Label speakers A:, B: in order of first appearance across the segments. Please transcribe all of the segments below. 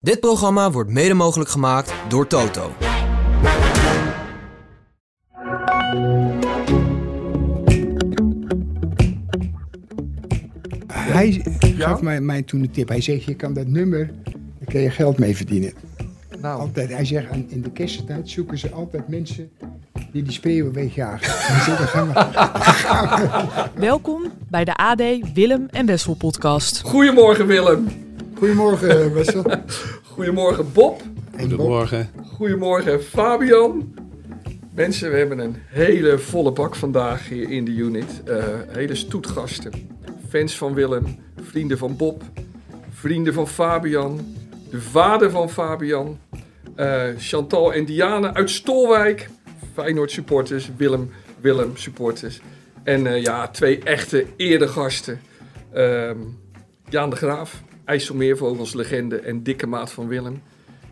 A: Dit programma wordt mede mogelijk gemaakt door Toto.
B: Hij gaf mij, mij toen een tip. Hij zegt, je kan dat nummer, daar kun je geld mee verdienen.
C: Nou.
B: Altijd, hij zegt, aan- in de kersttijd zoeken ze altijd mensen die die spreeuwen wegjagen. Hij zegt, dan gaan we-
D: Welkom bij de AD Willem en Wessel podcast.
C: Goedemorgen Willem.
B: Goedemorgen, eh, Wessel. En
C: Goedemorgen Bob.
B: Bob.
E: Goedemorgen.
C: Goedemorgen Fabian. Mensen, we hebben een hele volle bak vandaag hier in de unit. Eh, hele stoetgasten. Fans van Willem, vrienden van Bob, vrienden van Fabian, de vader van Fabian, eh, Chantal en Diane uit Stolwijk. Feyenoord supporters, Willem, Willem supporters. En eh, ja, twee echte eerdegasten. Ehm, Jaan de Graaf, IJsselmeervogels legende en dikke maat van Willem.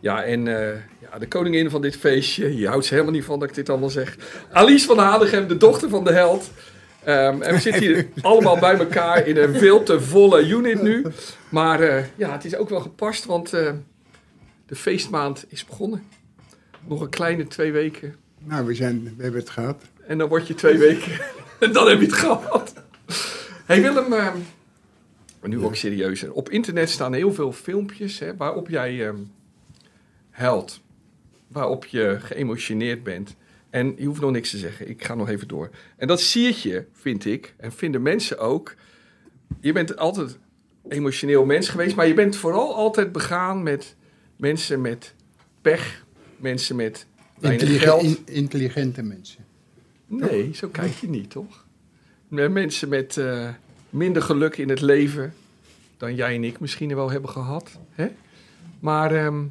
C: Ja, en eh, ja, de koningin van dit feestje, je houdt ze helemaal niet van dat ik dit allemaal zeg. Alice van Hadegem, de dochter van de held. Ehm, en we zitten hier allemaal bij elkaar in een veel te volle unit nu. Maar eh, ja, het is ook wel gepast, want eh, de feestmaand is begonnen. Nog een kleine twee weken.
B: Nou, we, zijn, we hebben het gehad.
C: En dan word je twee weken. en dan heb je het gehad. hey Willem, eh, maar nu ook serieuzer. Op internet staan heel veel filmpjes hè, waarop jij eh, huilt. Waarop je geëmotioneerd bent. En je hoeft nog niks te zeggen. Ik ga nog even door. En dat siert je, vind ik. En vinden mensen ook. Je bent altijd emotioneel mens geweest. Maar je bent vooral altijd begaan met mensen met pech. Mensen met weinig
B: Intelligen-
C: geld.
B: in- intelligente mensen.
C: Nee, zo kijk je niet, toch? Met Mensen met eh, minder geluk in het leven dan jij en ik misschien wel hebben gehad. Hè? Maar ehm,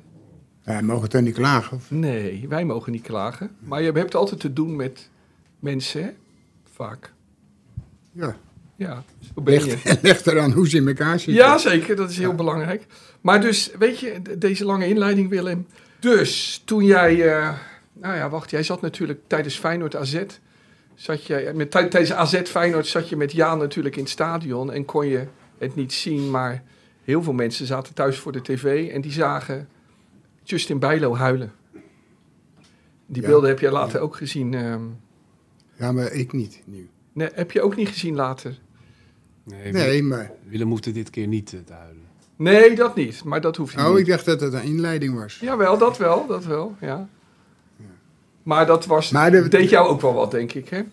B: Ja, mogen toch niet klagen? of?
C: nee, wij mogen niet klagen. Maar je hebt altijd te doen met mensen, hè? Vaak.
B: Ja.
C: Ja, zo ben je.
B: Ligt, ligt eraan hoe ze in elkaar zitten.
C: Ja, zeker. Dat is heel belangrijk. Maar dus, weet je, d- deze lange inleiding, Willem. Dus, toen jij... eh, nou ja, wacht. Jij zat natuurlijk tijdens Feyenoord AZ... Zat jij, eh, met, tij- tijdens AZ Feyenoord zat je met Jaan natuurlijk in het stadion... en kon je het niet zien, maar heel veel mensen zaten thuis voor de tv... en die zagen Justin Bijlo huilen. Die
B: Ja.
C: beelden heb jij later ook gezien. ehm.
B: ja, maar ik niet nu.
C: nee, heb je ook niet gezien later?
E: Nee, Willem-
B: Nee, maar...
E: Willem hoefde dit keer niet eh, te huilen.
C: Nee, dat niet. Maar dat hoeft niet.
B: Oh, ik dacht dat het een inleiding was.
C: Jawel, dat wel, dat wel, ja. Maar dat was,
B: Maar de-
C: deed jou ook wel wat, denk ik, hè?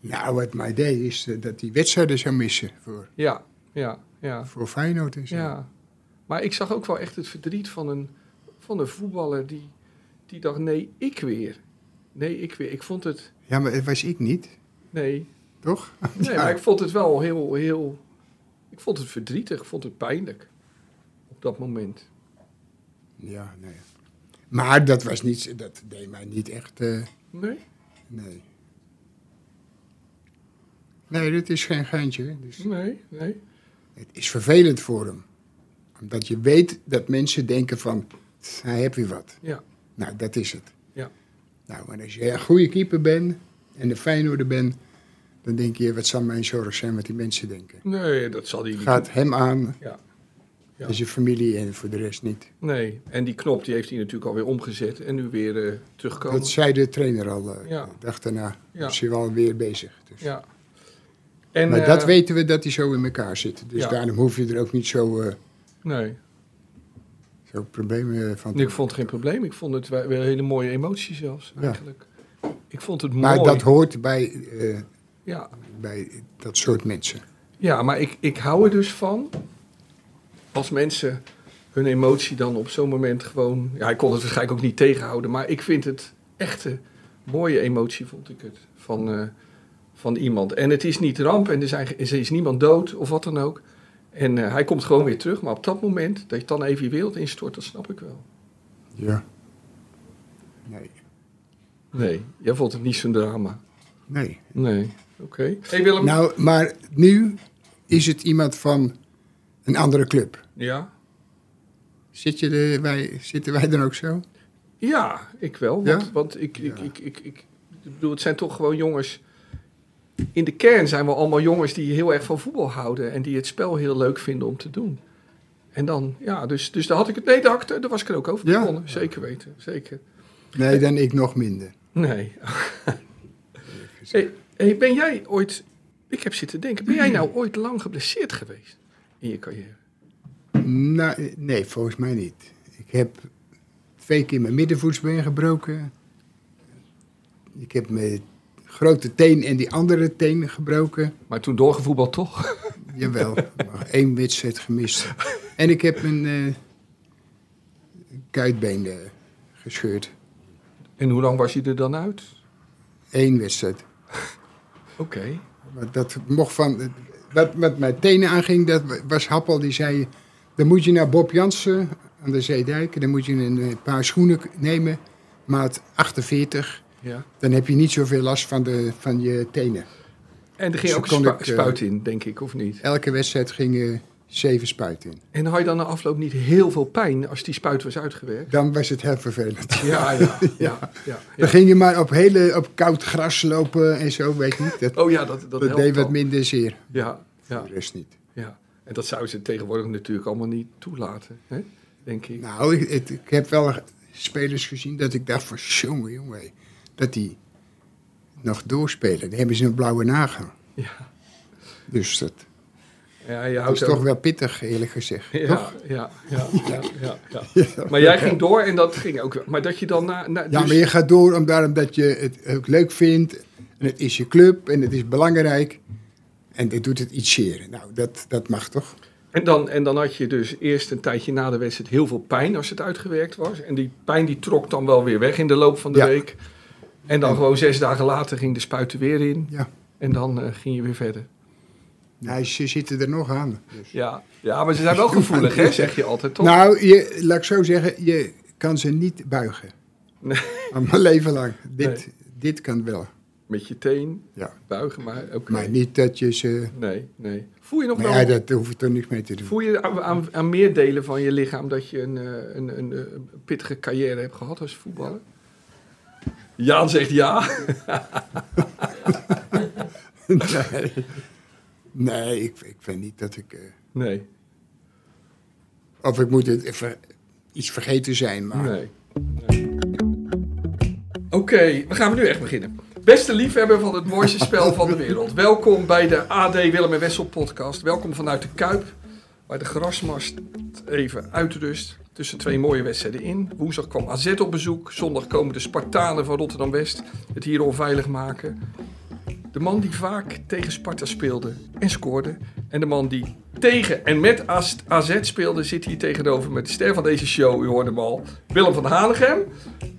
B: Nou, wat mij deed is eh, dat die wedstrijden zou missen voor,
C: Ja, ja, ja,
B: voor Feyenoord en zo.
C: ja. Maar ik zag ook wel echt het verdriet van een, van een voetballer die, die dacht, nee, ik weer. Nee, ik weer. Ik vond het,
B: ja, maar het was ik niet,
C: nee,
B: toch?
C: nee, maar ik vond het wel heel, heel, ik vond het verdrietig, ik vond het pijnlijk op dat moment.
B: Ja, nee. Maar dat was niet, dat deed mij niet echt, eh,
C: Nee?
B: nee. Nee, dat is geen geintje. Dus
C: Nee, nee.
B: het is vervelend voor hem. Omdat je weet dat mensen denken van, "Tss, hij heeft weer wat.
C: Ja.
B: Nou, dat is het.
C: Ja.
B: Nou, en als je een goede keeper bent en een Feyenoorder bent, dan denk je, wat zal mijn zorg zijn wat die mensen denken.
C: Nee, dat zal hij niet
B: Gaat hem aan,
C: Ja. Ja.
B: en zijn familie en voor de rest niet.
C: Nee, en die knop die heeft hij natuurlijk alweer omgezet en nu weer eh, terugkomen.
B: Dat zei de trainer al, eh,
C: Ja.
B: de dag daarna.
C: Ja.
B: Is hij wel weer bezig. Dus.
C: Ja. En,
B: maar
C: eh,
B: dat weten we dat die zo in elkaar zitten. Dus
C: Ja.
B: daarom hoef je er ook niet zo, eh,
C: Nee,
B: zo problemen eh, van te
C: ik vond het geen probleem. Ik vond het wel wel een hele mooie emotie zelfs,
B: Ja.
C: eigenlijk. Ik vond het mooi.
B: Maar dat hoort bij, eh,
C: ja.
B: bij dat soort mensen.
C: ja, maar ik, ik hou er dus van als mensen hun emotie dan op zo'n moment gewoon... Ja, ik kon het waarschijnlijk ook niet tegenhouden, maar ik vind het echte mooie emotie, vond ik het, van, eh, van iemand. En het is niet ramp en er, zijn, ge- er is niemand dood of wat dan ook. En eh, hij komt gewoon weer terug, maar op dat moment, dat je dan even je wereld instort, dat snap ik wel.
B: Ja. Nee.
C: Nee, jij vond het niet zo'n drama.
B: nee.
C: Nee. Oké. Hey Willem.
B: Nou, maar nu is het iemand van een andere club.
C: Ja?
B: Zit je er- wij, zitten wij dan ook zo?
C: Ja, ik wel. Want,
B: Ja?
C: want ik, ik, ik, ik, ik, ik bedoel, het zijn toch gewoon jongens. In de kern zijn we allemaal jongens die heel erg van voetbal houden. En die het spel heel leuk vinden om te doen. En dan, ja, dus, dus daar had ik het. Nee, daar, daar was ik er ook over
B: Ja.
C: begonnen. Zeker weten, zeker.
B: Nee, dan ik nog minder.
C: Nee. hey, hey, ben jij ooit. Ik heb zitten denken, ben jij nou ooit lang geblesseerd geweest in je carrière?
B: Nou, nee, volgens mij niet. Ik heb twee keer mijn middenvoetsbeen gebroken. Ik heb mijn grote teen en die andere teen gebroken.
C: Maar toen doorgevoetbald toch?
B: Jawel, maar één wedstrijd gemist. En ik heb mijn eh, kuitbeen eh, gescheurd.
C: En hoe lang was je er dan uit?
B: Eén wedstrijd.
C: Oké.
B: Maar dat mocht van... Wat met mijn tenen aanging, dat was Happel. Die zei, dan moet je naar Bob Jansen aan de Zeedijk. en Dan moet je een eh, paar schoenen k- nemen, maat 48.
C: Ja.
B: Dan heb je niet zoveel last van, de, van je tenen.
C: En Dus er ging
B: Zo
C: ook een
B: kon
C: spu-
B: ik, eh,
C: spuit in, denk ik, of niet?
B: Elke wedstrijd gingen zeven spuiten in.
C: En had je dan na afloop niet heel veel pijn als die spuit was uitgewerkt?
B: Dan was het heel vervelend.
C: Ja, ja, ja. ja,
B: Dan ging je maar op, hele, op koud gras lopen en zo, weet je niet. Dat,
C: Oh ja, dat, dat,
B: dat
C: helpt
B: deed wat
C: dan.
B: minder zeer.
C: Ja, ja,
B: De rest niet.
C: ja. En dat zouden ze tegenwoordig natuurlijk allemaal niet toelaten, hè? denk ik.
B: Nou, ik, het- ik heb wel spelers gezien dat ik dacht van, jongen, jongen, hé, dat die nog doorspelen. Dan hebben ze een blauwe nagel.
C: Ja,
B: Dus dat,
C: ja je
B: dat
C: houdt
B: is toch
C: ook-
B: wel pittig, eerlijk gezegd.
C: Ja,
B: Toch?
C: ja, ja, ja, ja, ja. Maar jij ging door en dat ging ook. wel. Maar dat je dan na. na
B: Ja,
C: dus-
B: maar je gaat door om- daarom dat je het ook leuk vindt. En het is je club en het is belangrijk. En dat doet het iets zeer. Nou, dat, dat mag toch?
C: en, dan, en dan had je dus eerst een tijdje na de wedstrijd heel veel pijn als het uitgewerkt was. En die pijn die trok dan wel weer weg in de loop van de
B: Ja.
C: week. En dan
B: Ja.
C: gewoon zes dagen later ging de spuit er weer in.
B: Ja.
C: En dan eh, ging je weer verder.
B: Nou, ze zitten er nog aan. Dus.
C: Ja, ja maar ze zijn wel gevoelig, hè, zeg je altijd toch?
B: Nou, je, laat ik zo zeggen, je kan ze niet buigen.
C: Nee.
B: Al Mijn leven lang. Dit,
C: Nee.
B: dit kan wel.
C: Met je teen,
B: Ja.
C: buigen maar. oké.
B: Maar niet dat je ze...
C: Nee, nee. Voel je nog
B: Nou
C: wel.
B: ja, dat hoef je toch niks mee te doen.
C: Voel je aan, aan, aan meer delen van je lichaam dat je een, eh, een, een, eh, pittige carrière hebt gehad als voetballer? Jaan zegt ja.
B: Nee, nee ik, ik vind niet dat ik... eh,
C: Nee,
B: of ik moet het even iets vergeten zijn, maar...
C: nee. nee. Oké, we gaan nu echt beginnen. Beste liefhebber van het mooiste spel van de wereld. Welkom bij de AD Willem en Wessel podcast. Welkom vanuit de Kuip, waar de grasmast even uitrust. Tussen twee mooie wedstrijden in. Woensdag kwam AZ op bezoek. Zondag komen de Spartanen van Rotterdam-West het hier onveilig maken. De man die vaak tegen Sparta speelde en scoorde. En de man die tegen en met AZ AZ speelde, zit hier tegenover met de ster van deze show. U hoorde hem al, Willem van Hanegem.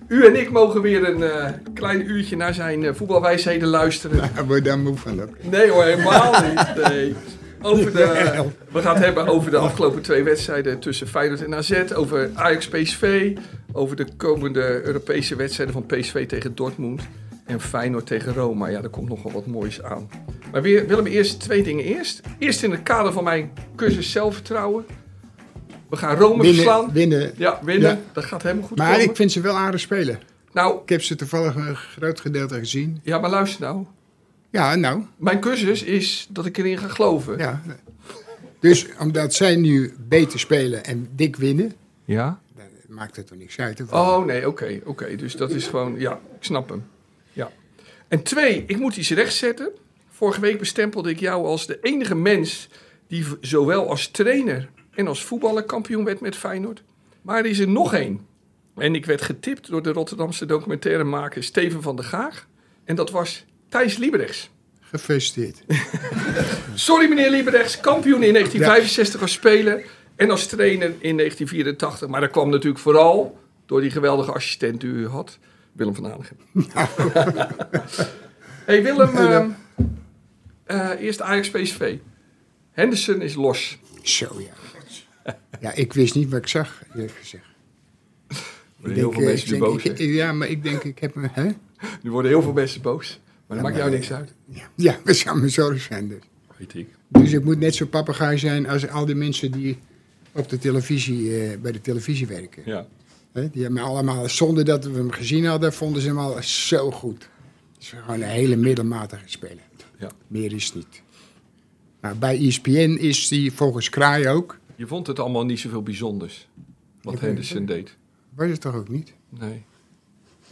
C: U en ik mogen weer een eh, klein uurtje naar zijn eh, voetbalwijsheden luisteren.
B: Daar word je daar moe van ook.
C: Nee hoor, helemaal niet. Nee. Over de, we gaan het hebben over de afgelopen twee wedstrijden tussen Feyenoord en AZ. Over Ajax-PSV. Over de komende Europese wedstrijden van PSV tegen Dortmund. En Feyenoord tegen Roma. Ja, daar komt nogal wat moois aan. Maar weer, Willem, eerst twee dingen eerst. Eerst in het kader van mijn cursus zelfvertrouwen. We gaan Rome verslaan.
B: Winnen, winnen.
C: Ja, winnen.
B: Ja.
C: Dat gaat helemaal goed
B: Maar
C: komen.
B: ik vind ze wel aardig spelen.
C: Nou,
B: Ik heb ze toevallig een groot gedeelte gezien.
C: ja, maar luister nou.
B: Ja, nou,
C: Mijn cursus is dat ik erin ga geloven.
B: ja. Dus omdat zij nu beter spelen en dik winnen,
C: ja?
B: dan maakt het toch niks uit. of-
C: Oh nee, oké, oké. Dus dat is gewoon, ja, ik snap hem. Ja. En twee, ik moet iets rechtzetten. Vorige week bestempelde ik jou als de enige mens die v- zowel als trainer en als voetballer kampioen werd met Feyenoord. Maar er is er nog één. En ik werd getipt door de Rotterdamse documentairemaker Steven van der Gaag. En dat was Thijs Liebrechts.
B: Gefeliciteerd.
C: Sorry meneer Liebrechts, kampioen in 1965 als speler en als trainer in 1984. Maar dat kwam natuurlijk vooral door die geweldige assistent die u had, Willem van Hanegem. hey Willem, ehm, eh, eerst Ajax PSV. Henderson is los.
B: Zo ja. Ja, ik wist niet wat ik zag, eerlijk gezegd.
C: Er worden
B: Ik
C: heel
B: denk,
C: veel
B: eh,
C: mensen nu
B: ik denk,
C: boos.
B: ik-
C: hè?
B: ik- Ja, maar ik denk, ik heb me. Hè?
C: Nu worden heel veel mensen boos. Maar dat
B: Ja,
C: maakt jou
B: maar-
C: niks uit.
B: Ja, we zouden mijn zorg zijn. Dus.
C: Weet ik.
B: dus ik moet net zo'n papegaai zijn als al die mensen die op de televisie, eh, bij de televisie werken.
C: Ja.
B: Hè? Die hebben allemaal, zonder dat we hem gezien hadden, vonden ze hem al zo goed. Het is gewoon een hele middelmatige speler.
C: Ja.
B: E Meer is het niet. Maar bij ESPN is die volgens Kraai ook
C: Je vond het allemaal niet zoveel bijzonders. Wat
B: Ik weet
C: Henderson deed.
B: Was het toch ook niet?
C: Nee.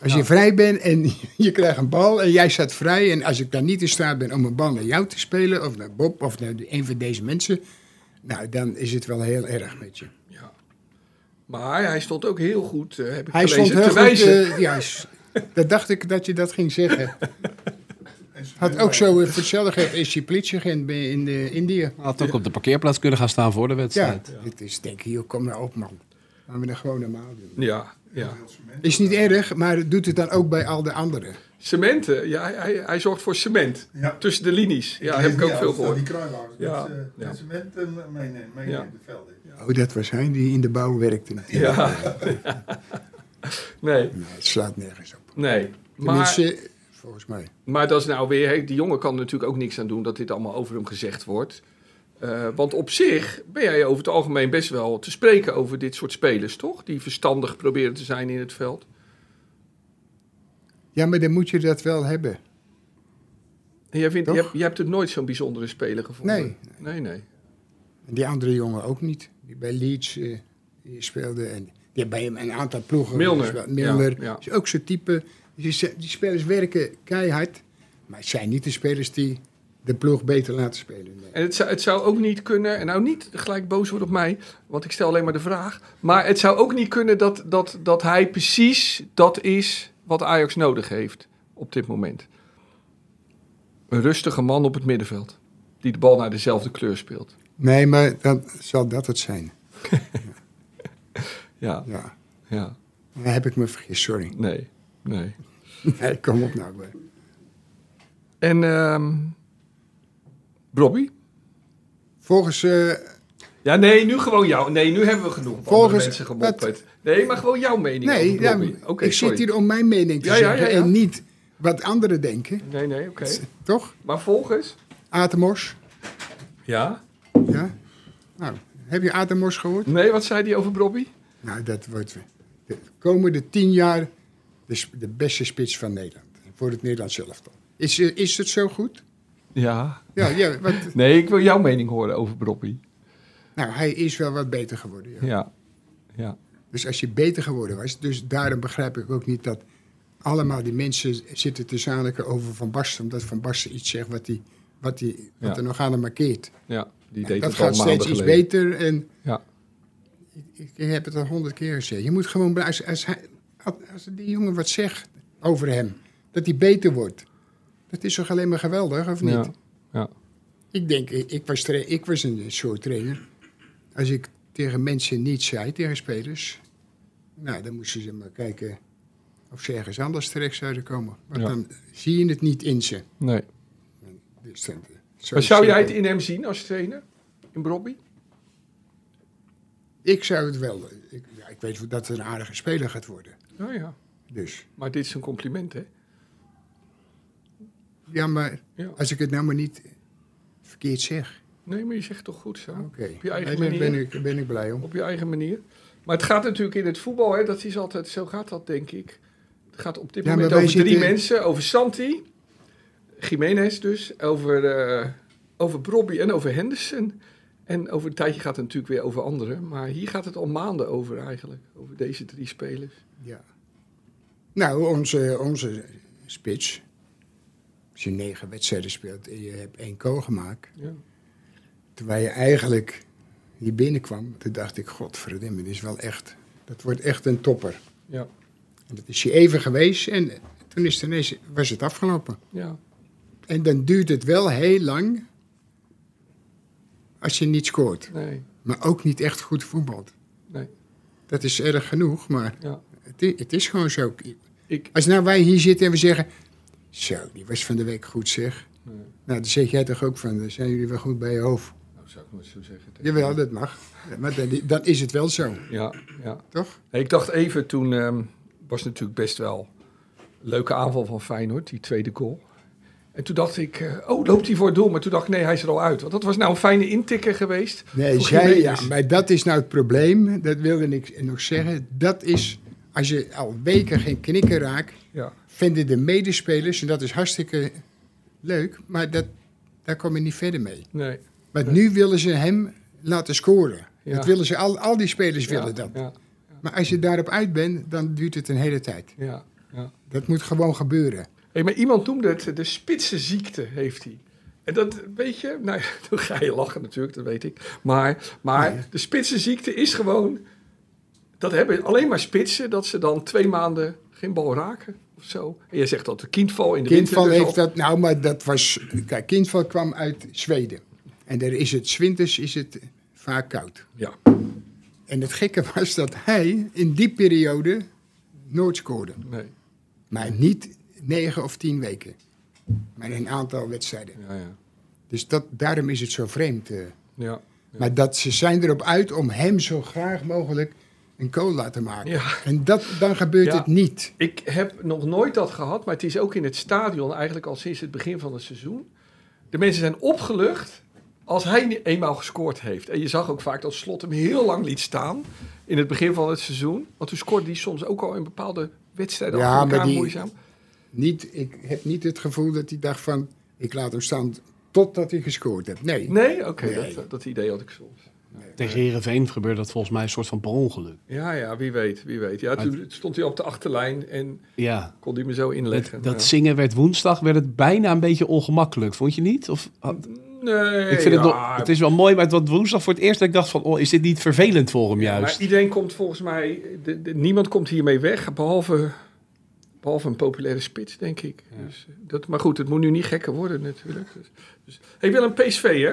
B: Als je vrij bent en je krijgt een bal en jij staat vrij. En als ik dan niet in staat ben om een bal naar jou te spelen, of naar Bob, of naar een van deze mensen. Nou, dan is het wel heel erg met je.
C: Ja. Maar hij stond ook heel goed, eh, heb ik
B: Hij
C: gelezen,
B: stond heel goed.
C: te wijzen.
B: eh, juist. Dat dacht ik dat je dat ging zeggen. Had ook zo eh, voor hetzelfde geld is hij politieagent bij- in eh, India.
E: Had ook op de parkeerplaats kunnen gaan staan voor de
B: Ja,
E: wedstrijd.
B: het is denk ik, joh, kom nou op man. Laten we dat gewoon normaal doen.
C: Ja, ja.
B: Is niet erg, maar het doet het dan ook bij al de anderen.
C: Cementen, ja, hij, hij, hij zorgt voor cement.
F: Ja.
C: Tussen de linies. Ja, heb ik ook veel gehoord.
F: Die kruiwagens
C: Ja,
F: met, eh,
C: ja.
F: met cement eh, meenemen, meenemen
C: Ja.
F: de velden.
B: Oh, dat was hij die in de bouw werkte natuurlijk.
C: Ja. nee,
B: Nee, het slaat nergens op.
C: nee. Maar,
B: Tenminste, volgens mij.
C: maar dat is nou weer... hey, Die jongen kan er natuurlijk ook niks aan doen dat dit allemaal over hem gezegd wordt. Eh, want op zich ben jij over het algemeen best wel te spreken over dit soort spelers, toch? Die verstandig proberen te zijn in het veld.
B: Ja, maar dan moet je dat wel hebben.
C: En jij, vindt, je,
B: Toch?
C: hebt, je hebt het nooit zo'n bijzondere speler gevonden.
B: Nee.
C: Nee, nee.
B: En die andere jongen ook niet. Die bij Leeds eh, die speelde. En die heeft bij hem een aantal ploegen.
C: Milner,
B: gespeeld. Milner.
C: ja, ja.
B: Is ook zo'n type. Die, z- die spelers werken keihard. Maar het zijn niet de spelers die de ploeg beter laten spelen. nee.
C: En het zou, het zou ook niet kunnen, en nou niet gelijk boos worden op mij, want ik stel alleen maar de vraag. Maar het zou ook niet kunnen dat, dat, dat hij precies dat is wat Ajax nodig heeft op dit moment. Een rustige man op het middenveld, die de bal naar dezelfde kleur speelt.
B: Nee, maar dan zal dat het zijn.
C: Ja,
B: Ja.
C: ja,
B: Daar heb ik me vergist, sorry.
C: nee, nee.
B: Nee, kom op nou. maar.
C: En ehm Robbie?
B: Volgens eh,
C: Ja, nee, nu gewoon jou. Nee, nu hebben we genoeg
B: Volgens-
C: andere mensen gemopperd.
B: wat-
C: Nee, maar gewoon jouw mening.
B: Nee,
C: over
B: ja,
C: Robbie. Oké,
B: ik
C: sorry.
B: zit hier om mijn mening te
C: Ja, ja,
B: zeggen
C: ja, ja.
B: en niet wat anderen denken,
C: Nee, nee, oké.
B: toch?
C: Maar volgens?
B: Atemos,
C: Ja?
B: ja. Nou, heb je Atemos gehoord?
C: Nee, wat zei hij over Bobby?
B: Nou, dat wordt de komende tien jaar de, sp- de beste spits van Nederland. Voor het Nederlands elftal. Is, eh, is het zo goed?
C: Ja.
B: Ja, ja wat,
C: Nee, ik wil jouw mening horen over Bobby.
B: nou, hij is wel wat beter geworden. Ja.
C: Ja. Ja.
B: Dus als je beter geworden was, dus daarom begrijp ik ook niet dat allemaal die mensen zitten te zaniken over Van Basten, omdat Van Basten iets zegt wat, die, wat, die, wat
C: Ja.
B: er nog aan hem markeert.
C: ja. Die
B: En
C: deed
B: dat
C: het al
B: gaat steeds
C: maanden
B: iets
C: geleden.
B: beter. En
C: Ja.
B: ik, ik heb het al honderd keer gezegd. Je moet gewoon, blij- als, als, hij, als die jongen wat zegt over hem, dat hij beter wordt. Dat is toch alleen maar geweldig, of niet?
C: Ja. Ja.
B: Ik denk, ik ik was, tra- ik was een soort trainer. Als ik tegen mensen niets zei, tegen spelers, nou, dan moesten ze maar kijken of ze ergens anders terecht zouden komen. Want
C: Ja.
B: dan zie je het niet in ze.
C: Nee.
B: Dus dan- zo
C: Maar zou jij het
B: simpel.
C: in hem zien als trainer? In Bobby?
B: Ik zou het wel. Ik, ja, ik weet dat het een aardige speler gaat worden.
C: Nou ja.
B: Dus.
C: Maar dit is een compliment, hè?
B: Ja, maar
C: Ja.
B: als ik het nou maar niet verkeerd zeg.
C: Nee, maar je zegt toch goed zo.
B: Oké.
C: Op je eigen
B: Daar ben,
C: manier.
B: ben ik, ben ik blij om.
C: Op je eigen manier. Maar het gaat natuurlijk in het voetbal, hè? Dat is altijd, zo gaat dat, denk ik. Het gaat op dit
B: Ja,
C: moment
B: maar wij
C: over drie
B: zitten-
C: mensen. Over Santi, Jiménez dus, over, eh, over Bobby en over Henderson. En over een tijdje gaat het natuurlijk weer over anderen. Maar hier gaat het al maanden over eigenlijk, over deze drie spelers.
B: Ja. Nou, onze, onze spits. Als je negen wedstrijden speelt en je hebt één kool gemaakt.
C: Ja.
B: Terwijl je eigenlijk hier binnenkwam, toen dacht ik, godverdomme, dit is wel echt. Dat wordt echt een topper.
C: Ja,
B: En dat is hier even geweest en toen is het ineens, was het afgelopen.
C: ja.
B: En dan duurt het wel heel lang als je niet scoort.
C: nee,
B: maar ook niet echt goed voetbalt.
C: Nee.
B: Dat is erg genoeg, maar
C: ja.
B: het i- het is, gewoon zo.
C: Ik,
B: Als nou wij hier zitten en we zeggen... Zo, die was van de week goed zeg.
C: Nee.
B: Nou, dan zeg jij toch ook van, dan zijn jullie wel goed bij je hoofd.
C: nou zou ik nooit zo zeggen. tegen-
B: Jawel, dat mag. Maar dan, dan is het wel zo,
C: Ja, ja.
B: toch?
C: Nee, Ik dacht even, toen ehm, was natuurlijk best wel een leuke aanval van Feyenoord, die tweede goal. En toen dacht ik, eh, oh, loopt hij voor het doel? Maar toen dacht ik, nee, hij is er al uit. Want dat was nou een fijne intikker geweest.
B: Nee,
C: voor
B: zij,
C: Jiménez.
B: ja, maar dat is nou het probleem. Dat wilde ik nog zeggen. Dat is, als je al weken geen knikken raakt...
C: Ja,
B: vinden de medespelers, en dat is hartstikke leuk... maar dat, daar kom je niet verder mee.
C: nee,
B: Maar nu willen ze hem laten scoren.
C: Ja.
B: Dat willen ze, al, al die spelers
C: Ja,
B: willen dat.
C: Ja,
B: Maar als je daarop uit bent, dan duurt het een hele tijd.
C: ja, ja.
B: Dat moet gewoon gebeuren.
C: Hey, maar iemand noemde het, de spitsenziekte heeft hij. En dat weet je, nou, dan ga je lachen natuurlijk, dat weet ik. Maar, maar de spitsenziekte is gewoon, dat hebben alleen maar spitsen, dat ze dan twee maanden geen bal raken of zo. En je zegt dat de kindval in de
B: Kindval
C: winter. dus
B: heeft dat, nou, maar dat was, kijk, Kindval kwam uit Zweden. En daar is het, 's winters is het vaak koud.
C: Ja,
B: En het gekke was dat hij in die periode nooit scoorde.
C: nee.
B: Maar niet negen of tien weken. Maar een aantal wedstrijden.
C: Ja, ja.
B: Dus dat, daarom is het zo vreemd. eh.
C: Ja,
B: Maar dat, ze zijn erop uit om hem zo graag mogelijk een cola te maken.
C: Ja.
B: En dat, dan gebeurt
C: Ja.
B: het niet.
C: Ik heb nog nooit dat gehad, maar het is ook in het stadion eigenlijk al sinds het begin van het seizoen. De mensen zijn opgelucht als hij niet eenmaal gescoord heeft. En je zag ook vaak dat Slot hem heel lang liet staan in het begin van het seizoen. Want toen scoorde hij soms ook al in bepaalde wedstrijden
B: Ja,
C: achter elkaar
B: maar die-
C: moeizaam.
B: niet. Ik heb niet het gevoel dat hij dacht van... ik laat hem staan totdat hij gescoord heeft. Nee.
C: Nee? Oké,
B: Nee.
C: dat, dat idee had ik soms.
E: Tegen Herenveen gebeurde dat volgens mij een soort van per ongeluk.
C: Ja, ja, wie weet, wie weet. Ja, toen stond hij op de achterlijn en
E: Ja.
C: kon hij me zo
E: Dat,
C: inleggen.
E: dat zingen werd woensdag, werd het bijna een beetje ongemakkelijk, vond je niet? Of, had-
C: ja. Nee,
E: ik vind het,
C: ja,
E: nog, het is wel mooi, maar het was woensdag voor het eerst dat ik dacht van, oh, is dit niet vervelend voor hem
C: Maar
E: juist?
C: iedereen komt volgens mij, de- de- niemand komt hiermee weg, behalve, behalve een populaire spits, denk ik. Dus, eh, dat, maar goed, het moet nu niet gekker worden natuurlijk. Dus, dus. Hey, Willem, PSV hè?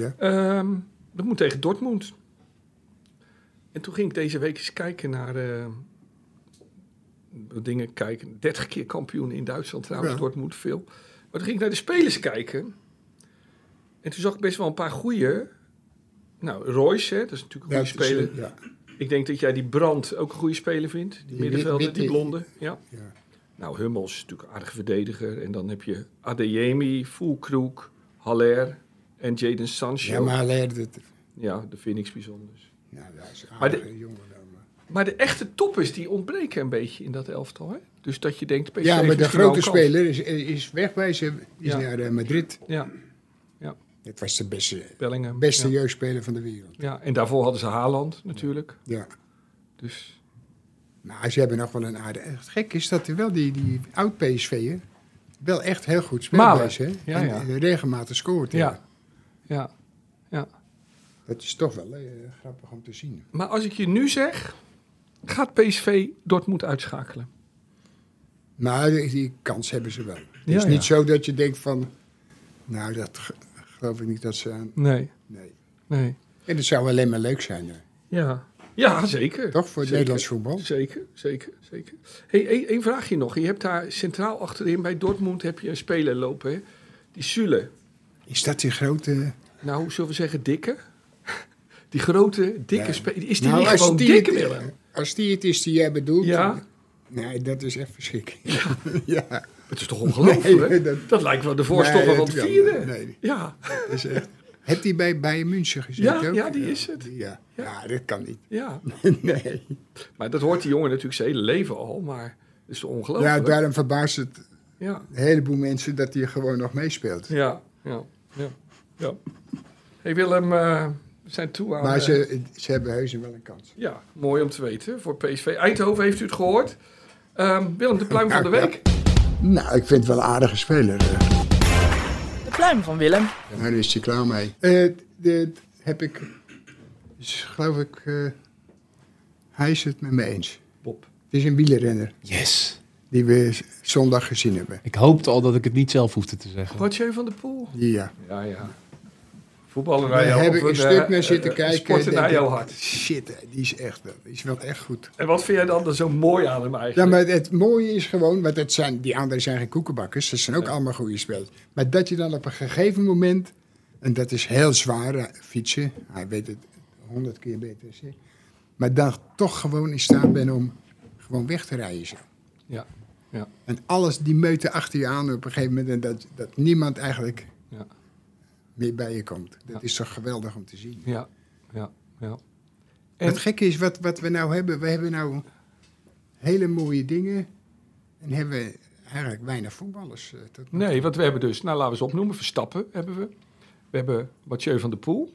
B: Ja.
C: Ehm, dat moet tegen Dortmund. En toen ging ik deze week eens kijken naar eh, dingen kijken. 30 keer kampioen in Duitsland trouwens,
B: Ja.
C: Dortmund veel. Maar toen ging ik naar de spelers kijken. En toen zag ik best wel een paar goeie. Nou, Royce, hè, dat is natuurlijk een
B: Dat
C: goede
B: is- eh,
C: speler.
B: Ja.
C: Ik denk dat jij die Brand ook een goede speler vindt. Die
B: Die
C: middenvelder,
B: wit-
C: die
B: witte-
C: blonde. Ja.
B: Ja.
C: Nou, Hummels is natuurlijk een aardige verdediger. En dan heb je Adeyemi, Fulkroek, Haller en Jaden Sancho.
B: ja, maar hij leerde het.
C: Ja, dat vind ik niks bijzonders.
B: Nou, dat is een
C: Maar de-
B: aardige jongen dan, maar-
C: Maar de echte toppers die ontbreken een beetje in dat elftal. Hè? Dus dat je denkt... PSV
B: Ja,
C: heeft
B: maar de
C: misschien wel
B: grote
C: een kans.
B: speler is, is wegwijzen. Is
C: Ja.
B: naar eh, Madrid.
C: Ja,
B: Dat was de beste,
C: Bellingham.
B: beste
C: Ja.
B: jeugdspeler van de wereld.
C: ja, en daarvoor hadden ze Haaland natuurlijk.
B: Ja.
C: Dus
B: Maar Nou, ze hebben nog wel een aarde. Het gek is dat er wel die, die oud-PSV'er wel echt heel goed
C: Malen.
B: speelbaar is. Hè?
C: Ja,
B: en
C: ja.
B: eh, regelmatig scoort. hè.
C: ja, ja.
B: Dat is toch wel eh, grappig om te zien.
C: Maar als ik je nu zeg... Gaat PSV Dortmund uitschakelen?
B: Maar die, die kans hebben ze wel. Het
C: Ja,
B: is
C: ja.
B: niet zo dat je denkt van... Nou, dat ge- geloof ik niet dat ze aan...
C: Nee,
B: Nee.
C: nee.
B: En het zou alleen maar leuk zijn, hè.
C: Ja, ja zeker.
B: toch? Voor het
C: Zeker.
B: Nederlands voetbal.
C: Zeker, zeker, zeker. hey, één, één vraagje nog. Je hebt daar centraal achterin bij Dortmund heb je een speler lopen, hè? Die Sule.
B: Is dat die grote...
C: Nou, hoe zullen we zeggen, dikke? Die grote, dikke
B: Ja.
C: speler. Is die
B: Nou,
C: niet gewoon
B: het-
C: dikke, Willem?
B: Als die het is die jij bedoelt...
C: Ja.
B: Nee, dat is echt verschrikkelijk. Ja,
C: Het is toch ongelooflijk?
B: Nee,
C: dat...
B: dat-
C: lijkt wel de voorstopper
B: Nee,
C: van
B: dat
C: het
B: kan.
C: vierde.
B: Nee.
C: Ja,
B: dat is echt... Heb die bij Bayern München gezien
C: Ja,
B: ook?
C: ja, die is het.
B: Ja.
C: Ja.
B: Ja. dat kan niet.
C: ja.
B: Nee.
C: Maar dat hoort die jongen natuurlijk zijn hele leven al. Maar het is toch
B: Ja,
C: ongelooflijk?
B: daarom verbaast het
C: ja.
B: een heleboel mensen dat hij gewoon nog meespeelt.
C: Ja, ja, ja. ja. Hey Willem, eh, we zijn toe aan...
B: Maar
C: eh,
B: ze, ze hebben heus wel een kans.
C: ja, mooi om te weten voor PSV. Eindhoven, heeft u het gehoord? Ehm, Willem, de pluim van de week.
B: Nou, ik vind het wel een aardige speler. eh.
D: De pluim van Willem.
B: Daar is hij klaar mee. dit heb ik, is, geloof ik, eh, hij is het met me eens.
C: Bob.
B: Het is een wielerrenner
E: Yes.
B: die we z- zondag gezien hebben.
E: Ik hoopte al dat ik het niet zelf hoefde te zeggen.
C: Roger van der Poel.
B: Die, Ja.
C: Ja, ja. Voetballen
B: Daar
C: wij jou.
B: heb
C: of
B: ik een
C: eh,
B: stuk naar
C: eh,
B: zitten
C: eh,
B: kijken.
C: Sporten
B: denk
C: naar
B: ik,
C: jouw hart.
B: Shit, hè, die is echt, wel- die is wel echt goed.
C: En wat vind jij dan zo mooi aan hem
B: Ja,
C: eigenlijk?
B: Nou, maar het mooie is gewoon, want het zijn, die anderen zijn geen koekenbakkers, dat zijn ook allemaal goede spelers. Maar dat je dan op een gegeven moment, en dat is heel zwaar eh, fietsen, hij weet het honderd keer beter dan ik, maar dan toch gewoon in staat ben om gewoon weg te rijden. Zo.
C: Ja, ja.
B: En alles, die meute achter je aan op een gegeven moment, en dat, dat niemand eigenlijk
C: Ja.
B: meer bij je komt. Dat
C: Ja.
B: is toch geweldig om te zien.
C: Ja, ja, ja. En-
B: En... Het gekke is wat, wat we nou hebben. We hebben nou hele mooie dingen. En hebben we eigenlijk weinig voetballers. eh, tot nu toe.
C: Nee, want we hebben dus, nou laten we ze opnoemen, Verstappen hebben we. We hebben Mathieu van der Poel.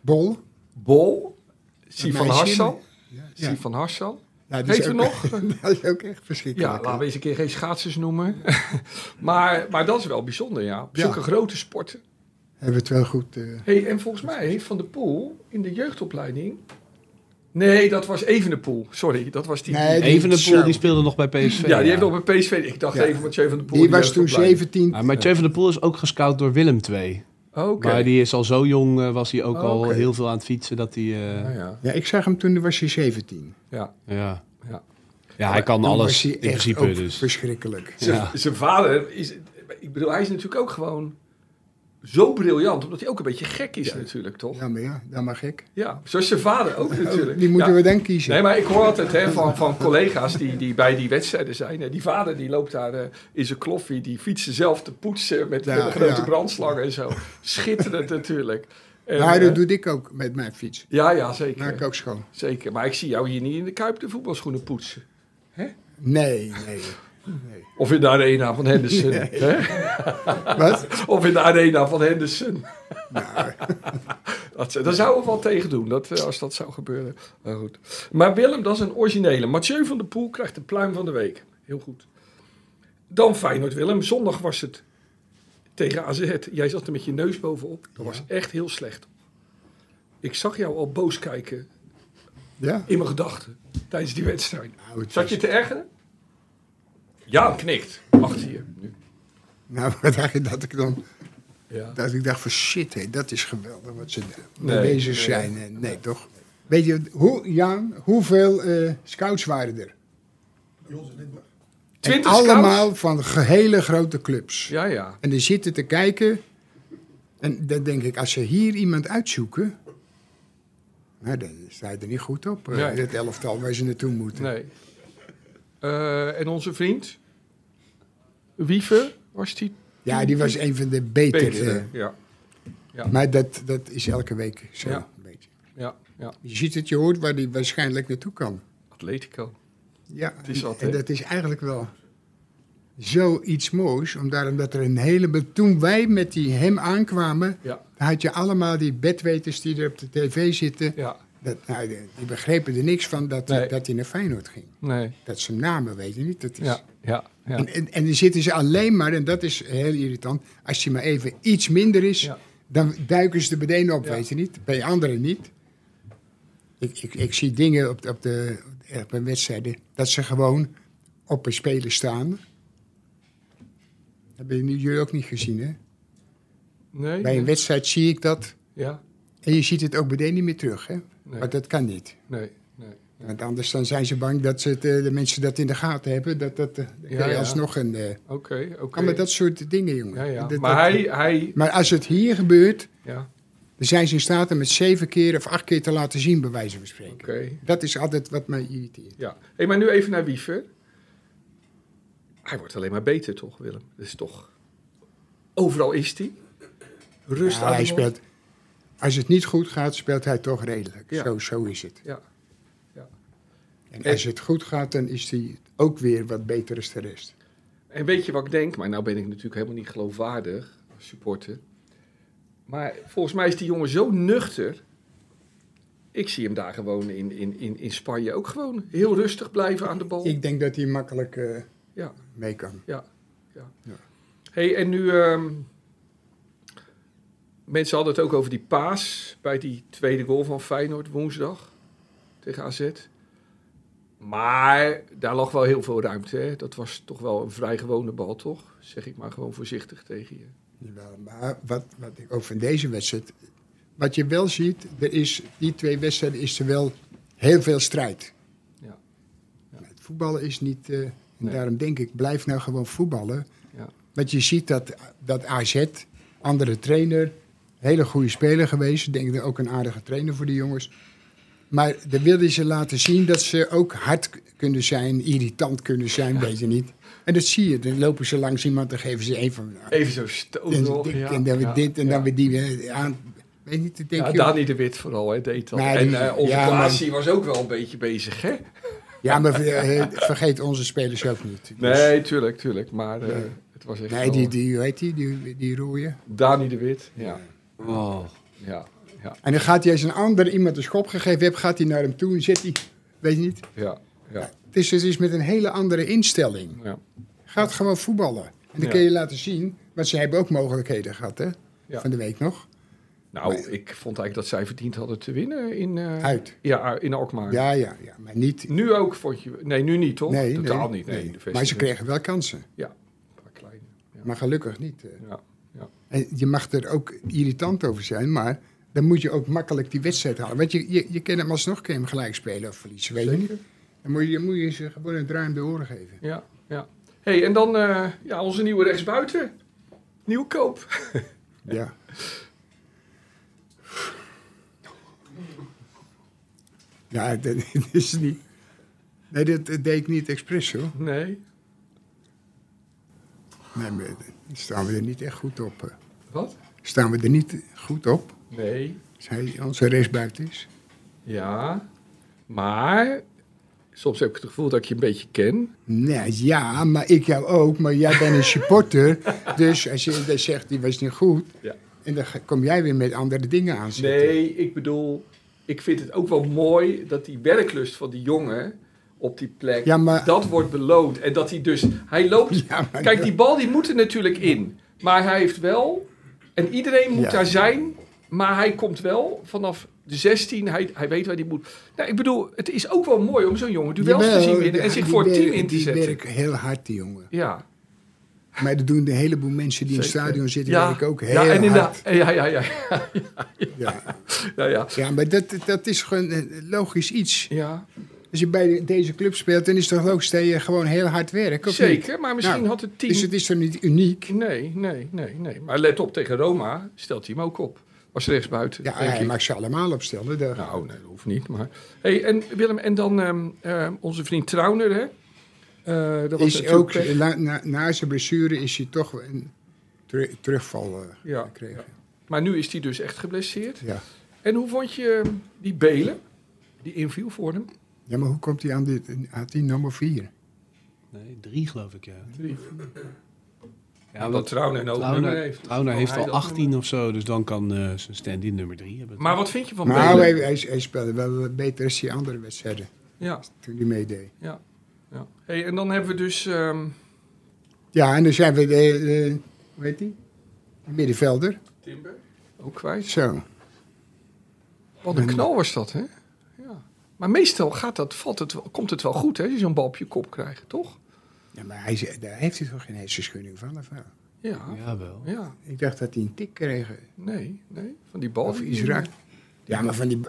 B: Bol,
C: Bol, Sifan
B: meisje.
C: Hassan.
B: Ja.
C: Sifan Hassan.
B: Nou, die is
C: Heet u
B: ook-
C: nog?
B: dat is ook echt
C: Ja,
B: verschrikkelijk.
C: laten we eens een keer geen schaatsers noemen. maar, maar dat is wel bijzonder, ja. Op
B: Ja.
C: Zulke grote sporten.
B: Hebben we het wel goed... eh,
C: Hey, en volgens mij heeft Van der Poel in de jeugdopleiding... Nee, dat was Evenepoel. Sorry, dat was die.
B: Nee,
E: Evenepoel
B: Zo.
E: die speelde nog bij PSV.
C: ja, die heeft nog bij PSV... Ik dacht
B: Ja.
C: even Mathieu van der Poel.
B: die
C: in de
B: was toen
C: jeugdopleiding.
B: 17.
E: Ja, maar Tjeu van der Poel is ook gescout door Willem II.
C: Oh, Oké.
E: Maar die is al zo jong, eh, was hij ook
C: Oh,
E: al
C: oké.
E: heel veel aan het fietsen dat hij... eh,
C: Ja, Nou ja.
B: Ja, ik zag hem toen was hij 17.
C: ja.
E: ja.
C: Ja.
E: Ja. hij kan
B: Toen
E: alles
B: was hij
E: in
B: echt
E: principe
B: ook
E: dus.
B: verschrikkelijk.
C: Zijn-
E: Ja.
C: Zijn vader is... Ik bedoel, hij is natuurlijk ook gewoon zo briljant. Omdat hij ook een beetje gek is natuurlijk, toch? Ja.
B: Ja, maar ja, dat mag ik.
C: Zoals zijn vader ook natuurlijk.
B: Die moeten
C: Ja.
B: we dan kiezen.
C: Nee, maar ik hoor altijd hè, van, van collega's die, die bij die wedstrijden zijn. hè. Die vader die loopt daar eh, in zijn kloffie, die fietsen zelf te poetsen met
B: Ja,
C: hele grote
B: ja.
C: brandslangen en zo. Schitterend natuurlijk. En,
B: maar dat
C: eh,
B: doe ik ook met mijn fiets.
C: ja, ja,
B: Maak
C: zeker.
B: ik ook schoon.
C: Zeker. Maar ik zie jou hier niet in de Kuip de voetbalschoenen poetsen.
B: Nee, nee.
C: Of in de arena van Henderson. Hè?
B: Wat?
C: Of in de arena van Henderson. dat, zou- daar zouden we wel tegen doen, dat, eh, als dat zou gebeuren. Maar, goed. maar Willem, dat is een originele. Mathieu van der Poel krijgt de pluim van de week. Heel goed. Dan Feyenoord-Willem. Zondag was het tegen AZ. Jij zat er met je neus bovenop. Dat was echt heel slecht. Ik zag jou al boos kijken
B: Ja?
C: in mijn gedachten tijdens die wedstrijd.
B: Nou, het
C: Zat
B: was-
C: je te ergeren? Ja, knikt. Achter je. Nu.
B: Nou, wat dacht je dat ik dan...
C: Ja.
B: Dat ik dacht van shit, hé, dat is geweldig wat ze daar
C: Nee,
B: mee bezig
C: nee.
B: zijn. Eh, Nee, toch? Weet je, hoe, Jan, hoeveel eh, scouts waren er? En
C: 20
B: allemaal
C: scouts?
B: van ge- hele grote clubs.
C: Ja, ja.
B: En die zitten te kijken. En dan denk ik, als ze hier iemand uitzoeken... Nou, dan sta je er niet goed op. eh,
C: Nee.
B: Het elftal waar ze naartoe moeten.
C: Nee. Eh, en onze vriend? Wiever was die?
B: Ja, die was een van de betere. eh.
C: Betere. Ja,
B: Maar dat, dat is elke week zo.
C: Ja.
B: een beetje.
C: ja, ja.
B: Je ziet het, je hoort waar die waarschijnlijk naartoe kan.
C: Atletico.
B: Ja,
C: is
B: en-
C: wat,
B: en
C: hè?
B: dat is eigenlijk wel zoiets moois. Omdat omdat er een heleboel... Toen wij met die hem aankwamen...
C: Ja,
B: had je allemaal die bedweters die er op de tv zitten.
C: ja.
B: Dat, nou, die, die begrepen er niks van dat,
C: Nee.
B: dat hij naar Feyenoord ging.
C: Nee.
B: Dat zijn namen weet je niet. Dat is,
C: Ja, ja, ja.
B: En, en, en dan zitten ze alleen maar, en dat is heel irritant, als hij maar even iets minder is,
C: Ja.
B: dan duiken ze er meteen op,
C: Ja.
B: weet je niet. Bij anderen niet. Ik, ik, ik zie dingen op, de- op, de, op mijn wedstrijden, dat ze gewoon op een speler staan. Dat hebben jullie- jullie ook niet gezien, hè?
C: Nee.
B: Bij een wedstrijd zie ik dat.
C: Ja,
B: En je ziet het ook meteen niet meer terug, hè?
C: nee,
B: Maar dat kan niet.
C: nee, nee.
B: Want anders dan zijn ze bang dat ze het, eh, de mensen dat in de gaten hebben. Dat, dat eh, dan
C: Ja,
B: kun je
C: ja.
B: alsnog een... eh,
C: Oké, oké.
B: kan met dat soort dingen, jongen.
C: Ja, ja.
B: Dat-
C: Maar
B: dat-
C: hij, hij...
B: maar als het hier gebeurt,
C: Ja,
B: dan zijn ze in staat om het zeven keer of acht keer te laten zien, bij wijze van spreken.
C: oké.
B: Dat is altijd wat mij irriteert.
C: Ja. Hey, maar nu even naar Wiever. Hij wordt alleen maar beter, toch, Willem? Dat is toch... Overal is hij. Rust
B: Ja,
C: aan
B: hij
C: de mond.
B: speelt, als het niet goed gaat, speelt hij toch redelijk.
C: Ja.
B: Zo, zo is het.
C: Ja.
B: En
C: En-
B: als het goed gaat, dan is hij ook weer wat beter als de rest.
C: En weet je wat ik denk? Maar nou ben ik natuurlijk helemaal niet geloofwaardig als supporter. Maar volgens mij is die jongen zo nuchter. Ik zie hem daar gewoon in, in, in, in Spanje ook gewoon heel rustig blijven aan de bal.
B: Ik denk dat hij makkelijk eh,
C: Oh. Ja,
B: mee kan.
C: ja, ja.
B: Ja.
C: hey, en nu... ehm, mensen hadden het ook over die paas bij die tweede goal van Feyenoord woensdag tegen AZ. Maar daar lag wel heel veel ruimte. Hè? Dat was toch wel een vrij gewone bal, toch? Zeg ik maar gewoon voorzichtig tegen je.
B: Jawel, Nou, maar wat, wat ik ook van deze wedstrijd... Wat je wel ziet, er is, die twee wedstrijden is er wel heel veel strijd.
C: Ja.
B: Maar Het voetballen is niet... eh, en
C: Nee.
B: Daarom denk ik, blijf nou gewoon voetballen.
C: Ja.
B: Want je ziet dat, dat AZ, andere trainer, hele goede speler geweest. Ik denk dat ook een aardige trainer voor die jongens. Maar dan wilden ze laten zien dat ze ook hard k- kunnen zijn, irritant kunnen zijn, weet je niet. En dat zie je. Dan lopen ze langs iemand, dan geven ze een van...
C: Even zo stoten.
B: En,
C: nog,
B: dit,
C: ja,
B: en dan weer
C: ja,
B: dit en
C: ja.
B: dan weer die eh, aan. Weet niet, ik denk
C: Ja,
B: je.
C: Dani de Wit vooral hè, deed dat.
B: Nee,
C: en
B: die-
C: eh, onze
B: ja,
C: Klaasie was ook wel een beetje bezig, hè?
B: Ja, maar eh, vergeet onze spelers ook niet. Dus-
C: Nee, tuurlijk, tuurlijk. Maar eh, het was echt
B: Nee,
C: wel-
B: die, die, hoe heet die? Die, die rooie.
C: Dani de Wit. Ja,
E: Oh.
C: ja, ja. Ja.
B: En dan gaat hij als een ander iemand een schop gegeven heeft, gaat hij naar hem toe en zit hij, weet je niet.
C: Ja, ja,
B: Dus het is met een hele andere instelling.
C: ja.
B: Gaat gewoon voetballen. En dan
C: Ja.
B: kun je laten zien, want ze hebben ook mogelijkheden gehad, hè?
C: Ja.
B: Van de week nog.
C: Nou, ik vond eigenlijk dat zij verdiend hadden te winnen in, eh,
B: Uit.
C: ja, in Alkmaar.
B: Ja, ja, ja. Maar niet.
C: Nu ook, vond je... Nee, nu niet, toch?
B: Nee,
C: Totaal
B: nee,
C: niet, nee. De
B: Maar ze
C: vestiging-
B: kregen wel kansen.
C: Ja, een paar kleine.
B: Maar gelukkig niet. eh.
C: Ja,
B: En je mag er ook irritant over zijn, maar dan moet je ook makkelijk die wedstrijd halen. Want je, je, je kan hem alsnog kan je hem gelijk spelen of verliezen, weet je niet.
C: zeker.
B: Dan moet je, moet je ze gewoon een draai om de oren geven.
C: Ja, ja. hey, en dan eh, ja, onze nieuwe rechtsbuiten. Nieuwkoop.
B: Ja. Ja, dat dat is niet. Nee, dat, dat deed ik niet expres hoor.
C: Nee.
B: Nee, maar daar staan we er niet echt goed op. eh.
C: Wat?
B: Staan we er niet goed op,
C: Nee.
B: als hij onze rechtsbuiten is?
C: Ja. Maar soms heb ik het gevoel dat ik je een beetje ken.
B: Nee, ja, maar ik jou ook, maar jij bent een supporter. dus als je dan zegt, die was niet goed,
C: Ja.
B: en dan ga- kom jij weer met andere dingen aan zitten.
C: Nee, ik bedoel, ik vind het ook wel mooi dat die werklust van die jongen op die plek,
B: Ja, maar-
C: dat wordt beloond. En dat hij dus, hij loopt,
B: Ja, maar
C: kijk
B: dat-
C: die bal die moet er natuurlijk in. Maar hij heeft wel, en iedereen moet
B: Ja.
C: daar zijn, maar hij komt wel vanaf de 16, hij, hij weet waar hij moet. Nou, ik bedoel, het is ook wel mooi om zo'n jongen duels te
B: Jawel,
C: zien winnen en
B: ja,
C: zich
B: die
C: voor het team
B: werken-
C: in te
B: Die
C: zetten.
B: werken heel hard, die jongen.
C: Ja,
B: Maar dat doen een heleboel mensen die in het
C: Zeker.
B: stadion zitten,
C: ja,
B: werken ook heel
C: ja, en in de-
B: hard.
C: ja, ja, ja,
B: Ja.
C: ja, ja,
B: ja, maar dat, dat is gewoon een logisch iets.
C: ja,
B: Als je bij de- deze club speelt, dan is het toch logisch dat je gewoon heel hard werkt, of niet?
C: zeker. Maar misschien
B: Nou,
C: had het team...
B: Dus het is toch niet uniek?
C: Nee, nee, nee, nee. Maar let op, tegen Roma stelt hij hem ook op. Als rechtsbuiten.
B: Ja,
C: denk
B: hij
C: ik.
B: mag ze allemaal opstellen. daar-
C: Nou, nee, dat hoeft niet. Maar... Hey, en Willem, en dan ehm, ehm, onze vriend Trauner, hè? Eh, dat was
B: is
C: natuurlijk
B: ook,
C: pech.
B: la- na, na zijn blessure is hij toch een teru- terugval eh,
C: Ja.
B: gekregen.
C: Maar nu is hij dus echt geblesseerd.
B: Ja.
C: En hoe vond je ehm, die Belen, die inviel voor hem?
B: ja, maar hoe komt hij aan dit, aan die nummer 4?
E: Nee, drie geloof ik, ja.
C: Drie.
E: Ja,
C: dat
E: want
C: Trauner een hoog nummer heeft.
E: Trauner
C: Kan
E: heeft
C: hij
E: al
C: dat
E: 18 of zo, dus dan kan eh, zijn stand-in nummer drie hebben.
C: Maar wat vind je van
B: Nou, hij,
C: Belen?
B: hij, hij speelde wel beter als die andere wedstrijden
C: Ja,
B: toen hij meedeed.
C: ja. Hey, en dan hebben we dus... ehm,
B: Ja, en dan zijn we de, de- hoe heet die? De middenvelder.
C: Timber. Ook kwijt.
B: Zo.
C: Wat
B: Mm.
C: een knal was dat, hè? Ja. Maar meestal gaat dat, valt het, wel- komt het wel goed, hè? Als je zo'n bal op je kop krijgt, toch?
B: Ja, maar hij, zei- daar heeft hij toch geen hersenschudding van? Of wel?
C: Ja. ja.
E: Jawel.
B: Ik dacht dat hij een tik kreeg. eh,
C: nee, nee. Van die bal.
B: Of iets raakt. Ja, maar van die,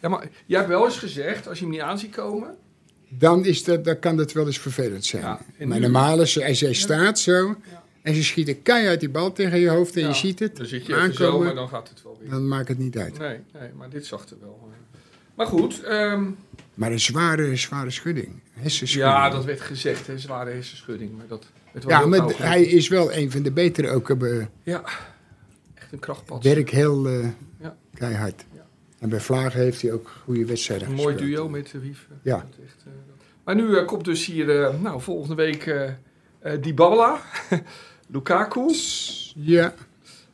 C: Ja, maar jij hebt wel eens gezegd, als je hem niet aan ziet komen...
B: dan, is dat, dan kan dat wel eens vervelend zijn.
C: Ja, en
B: maar
C: nu-
B: normaal is als jij staat zo en ze schieten keihard die bal tegen je hoofd en
C: ja,
B: je ziet het
C: Dan zit je even zo, maar dan gaat het wel weer.
B: dan maakt het niet uit.
C: Nee, nee, maar dit zag er wel. eh. Maar goed, ehm,
B: Maar een zware, zware schudding. Hersenschudding.
C: ja, dat werd gezegd, hè, zware hersenschudding. Maar dat werd wel
B: Ja,
C: heel
B: maar
C: nauw
B: d-
C: gedaan.
B: hij is wel een van de betere ook. eh, be-
C: Ja, echt een krachtpad.
B: Werk heel eh,
C: Ja.
B: keihard.
C: Ja.
B: En bij Vlagen heeft hij ook goede wedstrijden
C: Een mooi
B: gespeeld.
C: duo met de Wieven.
B: Ja.
C: Dat is echt, eh, maar nu eh, komt dus hier, eh, nou, volgende week eh eh, Dybala, Lukaku.
B: Ja,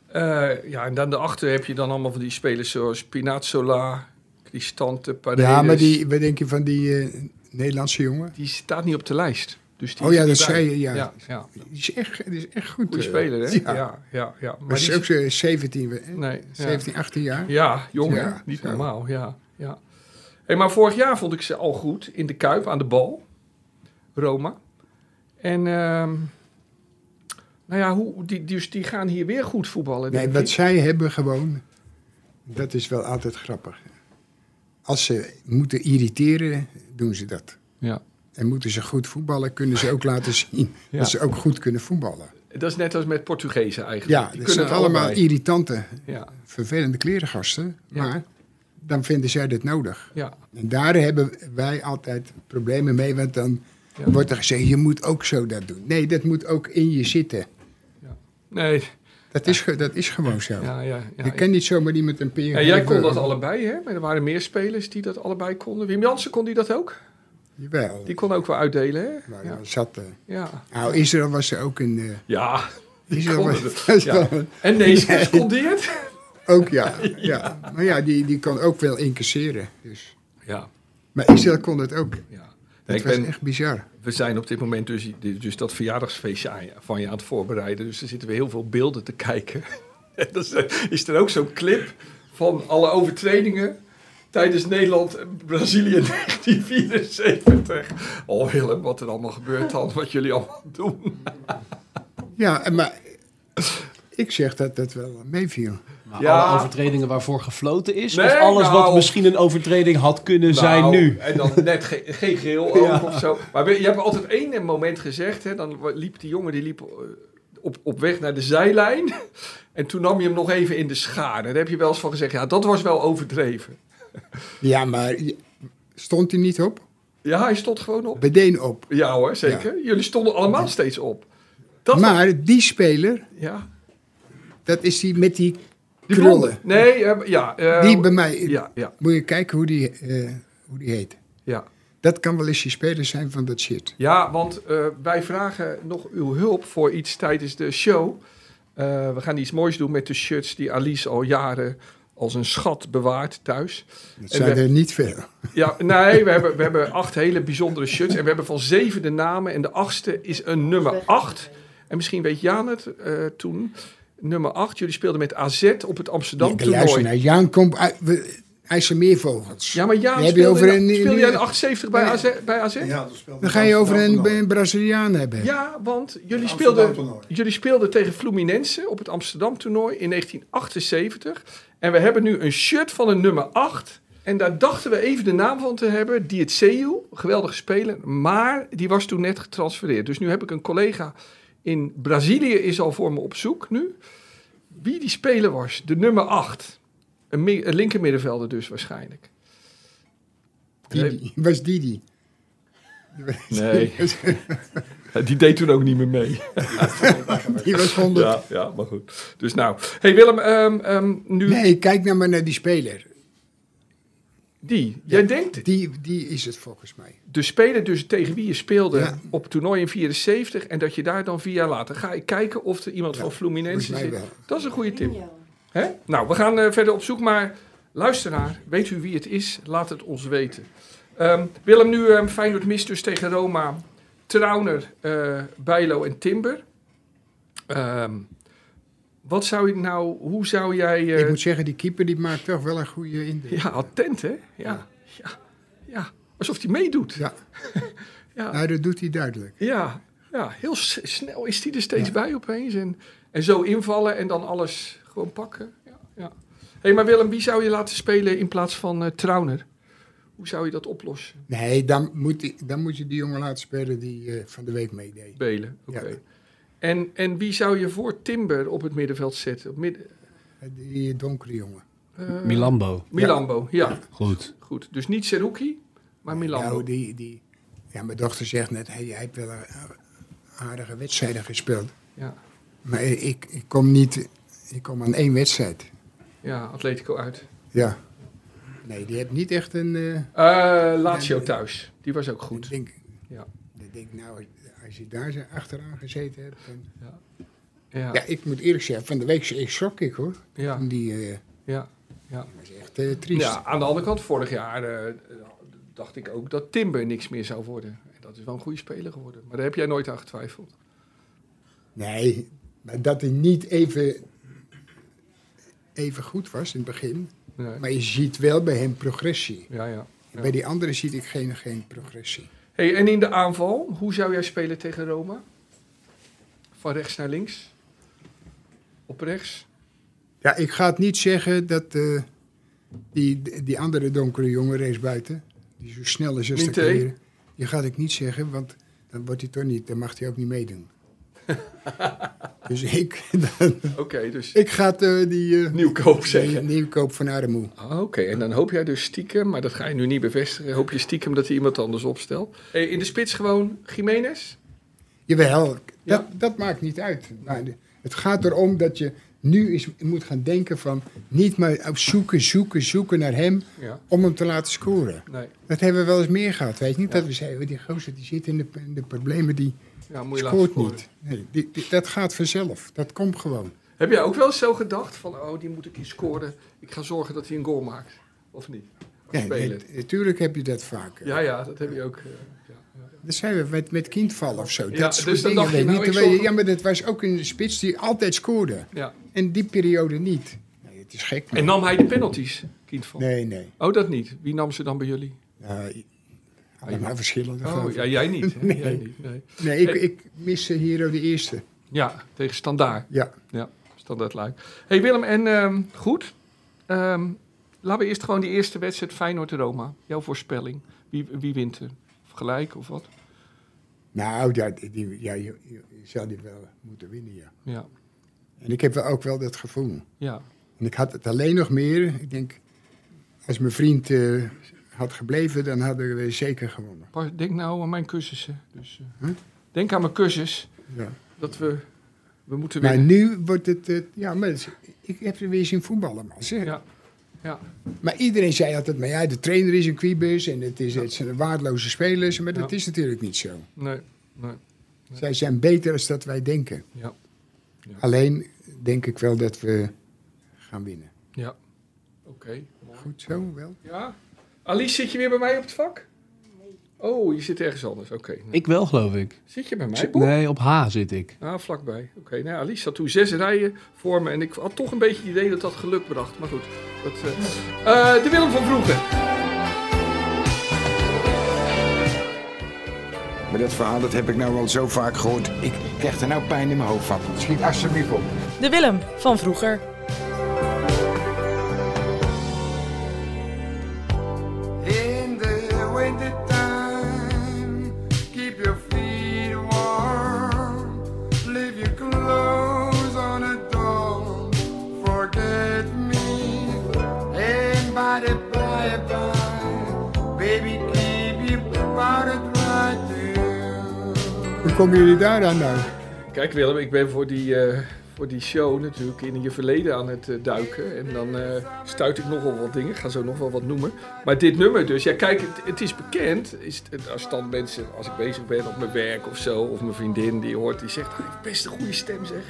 C: Eh, ja, en dan daarachter heb je dan allemaal van die spelers zoals Pinazzola, Cristante, Paredes.
B: ja maar die, wat denk je van die eh, Nederlandse jongen?
C: Die staat niet op de lijst. Dus die
B: Oh
C: is
B: ja,
C: er
B: dat
C: niet bij.
B: zei je, ja.
C: ja, ja.
B: Die is echt, die is echt goed.
C: Goeie
B: eh.
C: speler, hè?
B: Ja.
C: Ja, ja, ja. Maar
B: Maar
C: die
B: is
C: is-
B: ook eh, 17, we-
C: nee, ja.
B: 17 18 jaar.
C: Ja, jongen,
B: Ja,
C: niet
B: zo.
C: normaal. Ja, ja. Hey, maar vorig jaar vond ik ze al goed in de Kuip aan de bal. Roma. En ehm, nou ja, hoe, die, dus die gaan hier weer goed voetballen.
B: Nee,
C: denk
B: wat
C: ik.
B: zij hebben gewoon, dat is wel altijd grappig. Als ze moeten irriteren, doen ze dat.
C: Ja.
B: En moeten ze goed voetballen, kunnen ze ook laten zien
C: Ja.
B: dat ze ook goed kunnen voetballen.
C: Dat is net als met Portugezen eigenlijk.
B: Ja,
C: Die
B: dat
C: kunnen
B: zijn
C: het
B: allemaal
C: allebei.
B: irritante,
C: Ja,
B: vervelende klerengasten.
C: Ja.
B: Maar dan vinden zij dit nodig.
C: ja,
B: En daar hebben wij altijd problemen mee, want dan
C: Ja.
B: wordt er gezegd, je moet ook zo dat doen. Nee, dat moet ook in je zitten.
C: nee,
B: Dat, is, ge- dat is gewoon zo.
C: ja, ja. ja.
B: je kan niet zomaar iemand een peer
C: Ja, jij kon
B: geven.
C: dat allebei, hè? Maar er waren meer spelers die dat allebei konden. Wim Jansen kon die dat ook.
B: Jawel.
C: Die kon ook wel uitdelen, hè?
B: Nou,
C: Ja,
B: ja, zat, eh,
C: ja.
B: nou, Israël was er ook in. eh
C: ja.
B: Israël
C: kon
B: was,
C: het.
B: was
C: Ja.
B: wel-
C: En Neeskens kon die het.
B: Ook ja. ja. Maar ja, die, die kan ook wel incasseren. Dus.
C: Ja,
B: Maar Israël kon dat ook.
C: ja.
B: Dat
C: ik
B: was
C: ben,
B: echt bizar.
C: We zijn op dit moment dus, dus dat verjaardagsfeestje aan je- van je aan het voorbereiden. Dus er zitten we heel veel beelden te kijken. En dan is er- is er ook zo'n clip van alle overtredingen tijdens Nederland-Brazilië 1974. Oh Willem, wat er allemaal gebeurt dan, wat jullie allemaal doen.
B: Ja, en maar ik zeg dat dat wel meeviel.
E: Maar
C: Ja.
E: alle overtredingen waarvoor gefloten is?
C: Nee,
E: of alles wat
C: nou.
E: misschien een overtreding had kunnen zijn
C: Nou,
E: nu?
C: En dan net ge- geen geel ook
E: Ja.
C: of zo. Maar we- je hebt altijd één moment gezegd, hè, dan liep die jongen die liep eh, op, op weg naar de zijlijn. En toen nam je hem nog even in de schade. Daar heb je wel eens van gezegd, ja, dat was wel overdreven.
B: Ja, maar je- stond hij niet op?
C: Ja, hij stond gewoon op.
B: Bedeen op.
C: Ja hoor, zeker. Jullie stonden allemaal steeds op. Dat
B: Maar die speler,
C: ja.
B: dat is die met die
C: Die
B: krullen.
C: blonde. Nee, eh, ja. eh,
B: Die bij mij,
C: Ja, ja,
B: moet je kijken hoe die, eh, hoe die heet.
C: ja.
B: Dat kan wel eens die speler zijn van dat shit.
C: Ja, want eh, wij vragen nog uw hulp voor iets tijdens de show. Eh, we gaan iets moois doen met de shirts die Alice al jaren als een schat bewaart thuis.
B: Dat
C: En
B: zijn
C: we-
B: er niet veel.
C: Ja, nee, we hebben, we hebben acht hele bijzondere shirts. En we hebben van zeven de namen. En de achtste is een nummer acht. En misschien weet Jaan het eh, toen. Nummer acht, jullie speelden met AZ op het Amsterdam
B: Ja, luister
C: toernooi.
B: naar Jaan komt uit we- IJsselmeervogels.
C: Ja, maar Jaan,
B: We hebben
C: speelde,
B: over
C: in-
B: een-
C: speel
B: in-
C: jij een 78 bij
B: Ja.
C: AZ? Bij AZ?
F: Ja, dat speelde
B: Dan ga je over een,
F: Amsterdam
B: een Braziliaan hebben.
C: Ja, want jullie
F: Het
C: speelden,
F: Amsterdam-toernooi.
C: jullie speelden tegen Fluminense op het Amsterdam-toernooi in 1978. En we hebben nu een shirt van een nummer 8. En daar dachten we even de naam van te hebben. Dietseu, geweldige speler. Maar die was toen net getransfereerd. Dus nu heb ik een collega in Brazilië is al voor me op zoek nu. Wie die speler was, de nummer 8. Een, mi- een linkermiddenvelder dus waarschijnlijk.
B: Didi. Was Didi.
C: Nee. die deed toen ook niet meer mee.
B: Die was 100.
C: Ja, ja, maar goed. Dus nou. hey Willem, ehm, ehm, nu
B: Nee, kijk nou maar naar die speler.
C: die. Jij denkt,
B: Die, die is het volgens mij.
C: de speler dus tegen wie je speelde
B: Ja.
C: op toernooi in 74... en dat je daar dan vier jaar later... ga ik kijken of er iemand van Fluminense
B: volgens
C: zit.
B: mij
C: Dat is een goede tip. Hè? Nou, we gaan eh, verder op zoek, maar luisteraar, weet u wie het is? Laat het ons weten. Ehm, Willem, nu ehm Feyenoord mist dus tegen Roma, Trauner, eh, Bijlo en Timber. Ehm, wat zou je nou, hoe zou jij... eh,
B: Ik moet zeggen, die keeper die maakt toch wel een goede indruk.
C: Ja, attent, hè? Ja. Ja. ja. Alsof hij meedoet.
B: Ja.
C: Ja.
B: Nou, dat doet hij duidelijk.
C: ja. Ja, heel s- snel is hij er steeds bij opeens. En, en zo invallen en dan alles gewoon pakken. Ja, ja. hey, maar Willem, wie zou je laten spelen in plaats van eh Trauner? Hoe zou je dat oplossen?
B: Nee, dan moet, die- dan moet je die jongen laten spelen die eh, van de week meedeed.
C: Belen, oké.
B: Ja.
C: En, en wie zou je voor Timber op het middenveld zetten? Op midden,
B: Die donkere jongen.
C: eh,
E: Milambo,
C: Milambo, ja.
E: goed.
C: Goed, dus niet Seruki, maar Milambo.
B: Nou, die, die, ja, mijn dochter zegt net, hey, hij heeft wel een aardige wedstrijden gespeeld.
C: ja.
B: Maar ik, ik kom niet, ik kom aan één wedstrijd.
C: ja, Atletico uit.
B: Ja. Nee, die heeft niet echt een... eh,
C: Eh Lazio thuis, die was ook
B: Ik
C: goed.
B: denk,
C: Ja.
B: ik denk nou, als je daar zo achteraan gezeten hebt... dan-
C: Ja,
B: Ja, ik moet eerlijk zeggen, van de week ik schrok ik hoor.
C: ja,
B: Van Die eh,
C: ja.
B: was echt eh, triest.
C: ja, aan de andere kant, vorig jaar eh, dacht ik ook dat Timber niks meer zou worden. En dat is wel een goede speler geworden. Maar daar heb jij nooit aan getwijfeld.
B: Nee, maar dat hij niet even, even goed was in het begin.
C: Nee.
B: Maar je ziet wel bij hem progressie.
C: Ja, ja. Ja.
B: Bij die anderen zie ik geen, geen progressie.
C: Hey, en in de aanval, hoe zou jij spelen tegen Roma? Van rechts naar links? Op rechts?
B: Ja, ik ga het niet zeggen dat eh, die, die andere donkere jongen reeds buiten, die zo snel is als de
C: Minté?
B: kleren, die gaat ik niet zeggen, want dan wordt hij toch niet, dan mag hij ook niet meedoen. dus ik, dan-
C: Oké, dus
B: ik ga het, eh, die, eh,
C: nieuwkoop
B: die
C: zeggen.
B: nieuwkoop van Armoe.
C: Ah, Oké, en dan hoop jij dus stiekem, maar dat ga je nu niet bevestigen. Hoop je stiekem dat hij iemand anders opstelt. Hey, in de spits gewoon Jiménez?
B: Jawel, dat,
C: Ja.
B: dat maakt niet uit. Maar de- het gaat erom dat je nu eens moet gaan denken van niet maar op zoeken, zoeken, zoeken naar hem
C: Ja,
B: om hem te laten scoren.
C: nee.
B: Dat hebben we wel eens meer gehad, weet je niet? Dat we zeiden, "Oh, die gozer die zit in de, in de problemen, die
C: Ja, moet je laten
B: scoort
C: scoren.
B: niet. Nee, die, die- dat gaat vanzelf, dat komt gewoon.
C: Heb jij ook wel eens zo gedacht van, oh, die moet ik hier scoren. Ik ga zorgen dat hij een goal maakt. Of niet? Of
B: Ja,
C: spelen.
B: nee, natuurlijk heb je dat vaker.
C: Ja, ja, dat heb je ook. eh, ja, ja.
B: Dat zijn we met, met kindvallen of zo.
C: Ja,
B: dat soort
C: dus dan
B: dingen.
C: dacht je,
B: weet
C: nou,
B: niet,
C: ik
B: terwijl je-
C: zorg-
B: ja, maar dat was ook een spits die altijd scoorde.
C: Ja.
B: En die periode niet. Nee, het is gek.
C: En
B: man.
C: nam hij de penalties, kind van?
B: Nee, nee.
C: Oh, dat niet. Wie nam ze dan bij jullie?
B: Nou, i- allemaal verschillende.
C: Oh,
B: geloof
C: ja,
B: ik.
C: jij niet. hè?
B: Nee.
C: Jij niet nee.
B: Nee, ik, ik miste Hero de eerste.
C: Ja, tegen Standaard.
B: Ja.
C: Ja, standaard luik. hey Willem, en ehm, goed. Ehm, laten we eerst gewoon die eerste wedstrijd Feyenoord-Roma. Jouw voorspelling. Wie, wie wint er? Of gelijk of wat?
B: Nou, ja, die, ja, je, je- je zou die wel moeten winnen, ja.
C: Ja,
B: En ik heb wel ook wel dat gevoel.
C: ja.
B: En ik had het alleen nog meer. Ik denk, als mijn vriend eh, had gebleven, dan hadden we zeker gewonnen.
C: Pas- Denk nou aan mijn cursussen. Dus, eh,
B: Hm?
C: Denk aan mijn cursus.
B: Ja.
C: Dat we, we moeten
B: Maar
C: winnen.
B: nu wordt het... eh, ja, maar het is- ik heb er weer zien voetballen, man. Zeg.
C: Ja. Ja.
B: Maar iedereen zei altijd, maar ja, de trainer is een kwiebus en het, is, het zijn waardeloze spelers. Maar dat
C: Ja.
B: is natuurlijk niet zo.
C: Nee, nee.
B: Zij zijn beter dan dat wij denken.
C: Ja.
B: Alleen denk ik wel dat we gaan winnen.
C: Ja. Oké, mooi.
B: Goed zo, wel.
C: Ja. Alice, zit je weer bij mij op het vak? Nee. Oh, je zit ergens anders. Oké. nou.
E: Ik wel, geloof ik.
C: Zit je bij mij, Bob?
E: Nee, op H zit ik.
C: Ah, vlakbij. Oké, nou ja, Alice had toen zes rijen voor me. En ik had toch een beetje het idee dat dat geluk bracht. Maar goed. Dat, eh. Eh, de Willem van Vroeger.
F: Maar dat verhaal dat heb ik nou al zo vaak gehoord. Ik krijg er nou pijn in mijn hoofd van. Schiet alsjeblieft op.
D: De Willem van vroeger.
F: In the winter time, keep your feet warm. Leave your clothes on a door. Forget me. And by the bye bye, baby, keep your powder dry too.
B: Hoe komen jullie daar aan nou?
C: Kijk, Willem, ik ben voor die, eh, voor die show natuurlijk in je verleden aan het eh, duiken. En dan eh, stuit ik nogal wat dingen. Ik ga zo nog wel wat noemen. Maar dit nummer dus. Ja, kijk, het, het is bekend. Is, het- als dan mensen, als ik bezig ben op mijn werk of zo. Of mijn vriendin die hoort, die zegt, hij heeft best een goede stem zeg.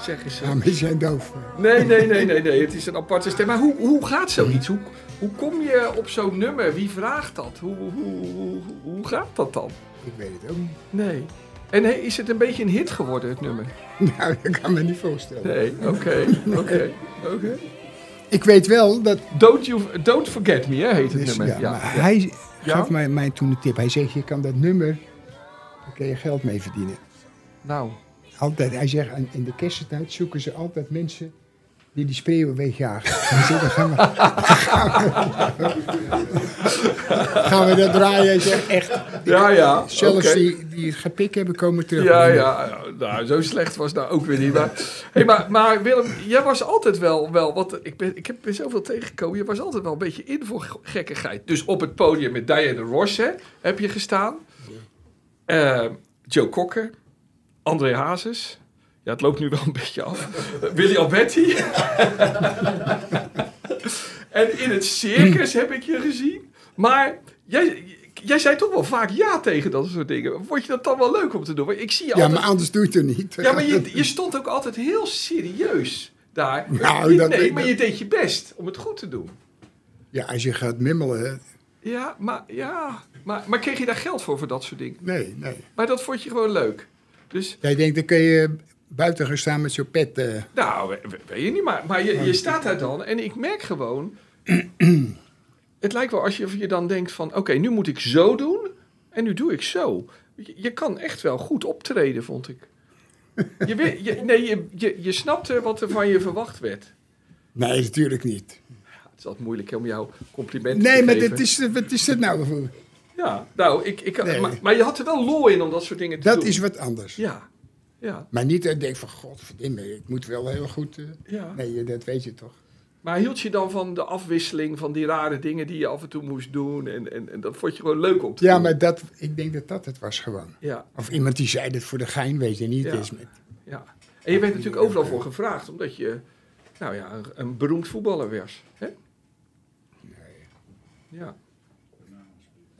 C: Zeggen ze.
B: Ja, maar die Nou, zijn doof.
C: Nee, nee, nee, nee, nee. Het is een aparte stem. Maar hoe, hoe gaat zoiets? Hoe, hoe kom je op zo'n nummer? Wie vraagt dat? Hoe, hoe, hoe, hoe gaat dat dan?
B: Ik weet het ook niet.
C: Nee. En hey, is het een beetje een hit geworden, het nummer?
B: Nou, dat kan me niet voorstellen.
C: Nee, oké, oké, oké.
B: Ik weet wel dat...
C: Don't, you, don't Forget Me, hè, heet het
B: Dus, ja,
C: nummer. Ja,
B: maar
C: ja.
B: Hij
C: Ja?
B: gaf mij, mij toen een tip. Hij zegt, je kan dat nummer, daar kun je geld mee verdienen.
C: Nou,
B: Altijd, hij zegt, aan- in de kersttijd zoeken ze altijd mensen die die spreeuwen wegjagen. Hij zegt, dan gaan we, gaan we dat draaien. Hij zegt, echt,
C: ja, ja.
B: zelfs
C: oké.
B: die, die het gepik hebben komen terug.
C: Ja, ja, nou, zo slecht was het nou ook weer niet. Maar, hey, maar, maar Willem, jij was altijd wel, wel wat, ik, ben, ik heb weer zoveel tegengekomen, je was altijd wel een beetje in voor ge- gekkigheid. Dus op het podium met Diana Ross hè, heb je gestaan. Eh, Joe Kokker, André Hazes. Ja, het loopt nu wel een beetje af. Eh, Willy Alberti. en in het circus heb ik je gezien. Maar jij, jij zei toch wel vaak ja tegen dat soort dingen. Vond je dat dan wel leuk om te doen? Want ik zie je
B: Ja,
C: altijd...
B: maar anders doe je het er niet.
C: Ja, maar je, je stond ook altijd heel serieus daar.
B: Nou,
C: Je-
B: dat-
C: nee, maar je deed je best om het goed te doen.
B: Ja, als je gaat mimmelen,
C: Ja, maar, ja. Maar, maar kreeg je daar geld voor, voor dat soort dingen?
B: nee, nee.
C: Maar dat vond je gewoon leuk. Dus,
B: Jij denkt, dan kun je buiten gaan staan met zo'n pet. eh.
C: nou, we- we- weet je niet, maar, maar je, je staat daar dan en ik merk gewoon... het lijkt wel als je je dan denkt van, oké, nu moet ik zo doen en nu doe ik zo. Je, je kan echt wel goed optreden, vond ik. Je, weet- je, nee, je, je, je snapte wat er van je verwacht werd.
B: Nee, natuurlijk niet.
C: Het is altijd moeilijk om jou complimenten te
B: Nee,
C: geven.
B: maar dit is, wat is dat nou? voor-
C: Ja, nou, ik, ik,
B: Nee.
C: maar, maar je had er wel lol in om dat soort dingen te
B: Dat
C: doen.
B: is wat anders.
C: Ja, ja,
B: Maar niet dat ik denk van, godverdomme, ik moet wel heel goed... eh,
C: ja.
B: Nee, dat weet je toch.
C: Maar hield je dan van de afwisseling van die rare dingen die je af en toe moest doen? En, en, en dat vond je gewoon leuk om te
B: Ja,
C: doen?
B: maar dat, ik denk dat dat het was gewoon.
C: Ja,
B: Of iemand die zei dat voor de gein, weet je niet.
C: Ja.
B: het is met-
C: ja. En je werd natuurlijk overal voor gevraagd, omdat je, nou ja, een, een beroemd voetballer was. Hè? Ja.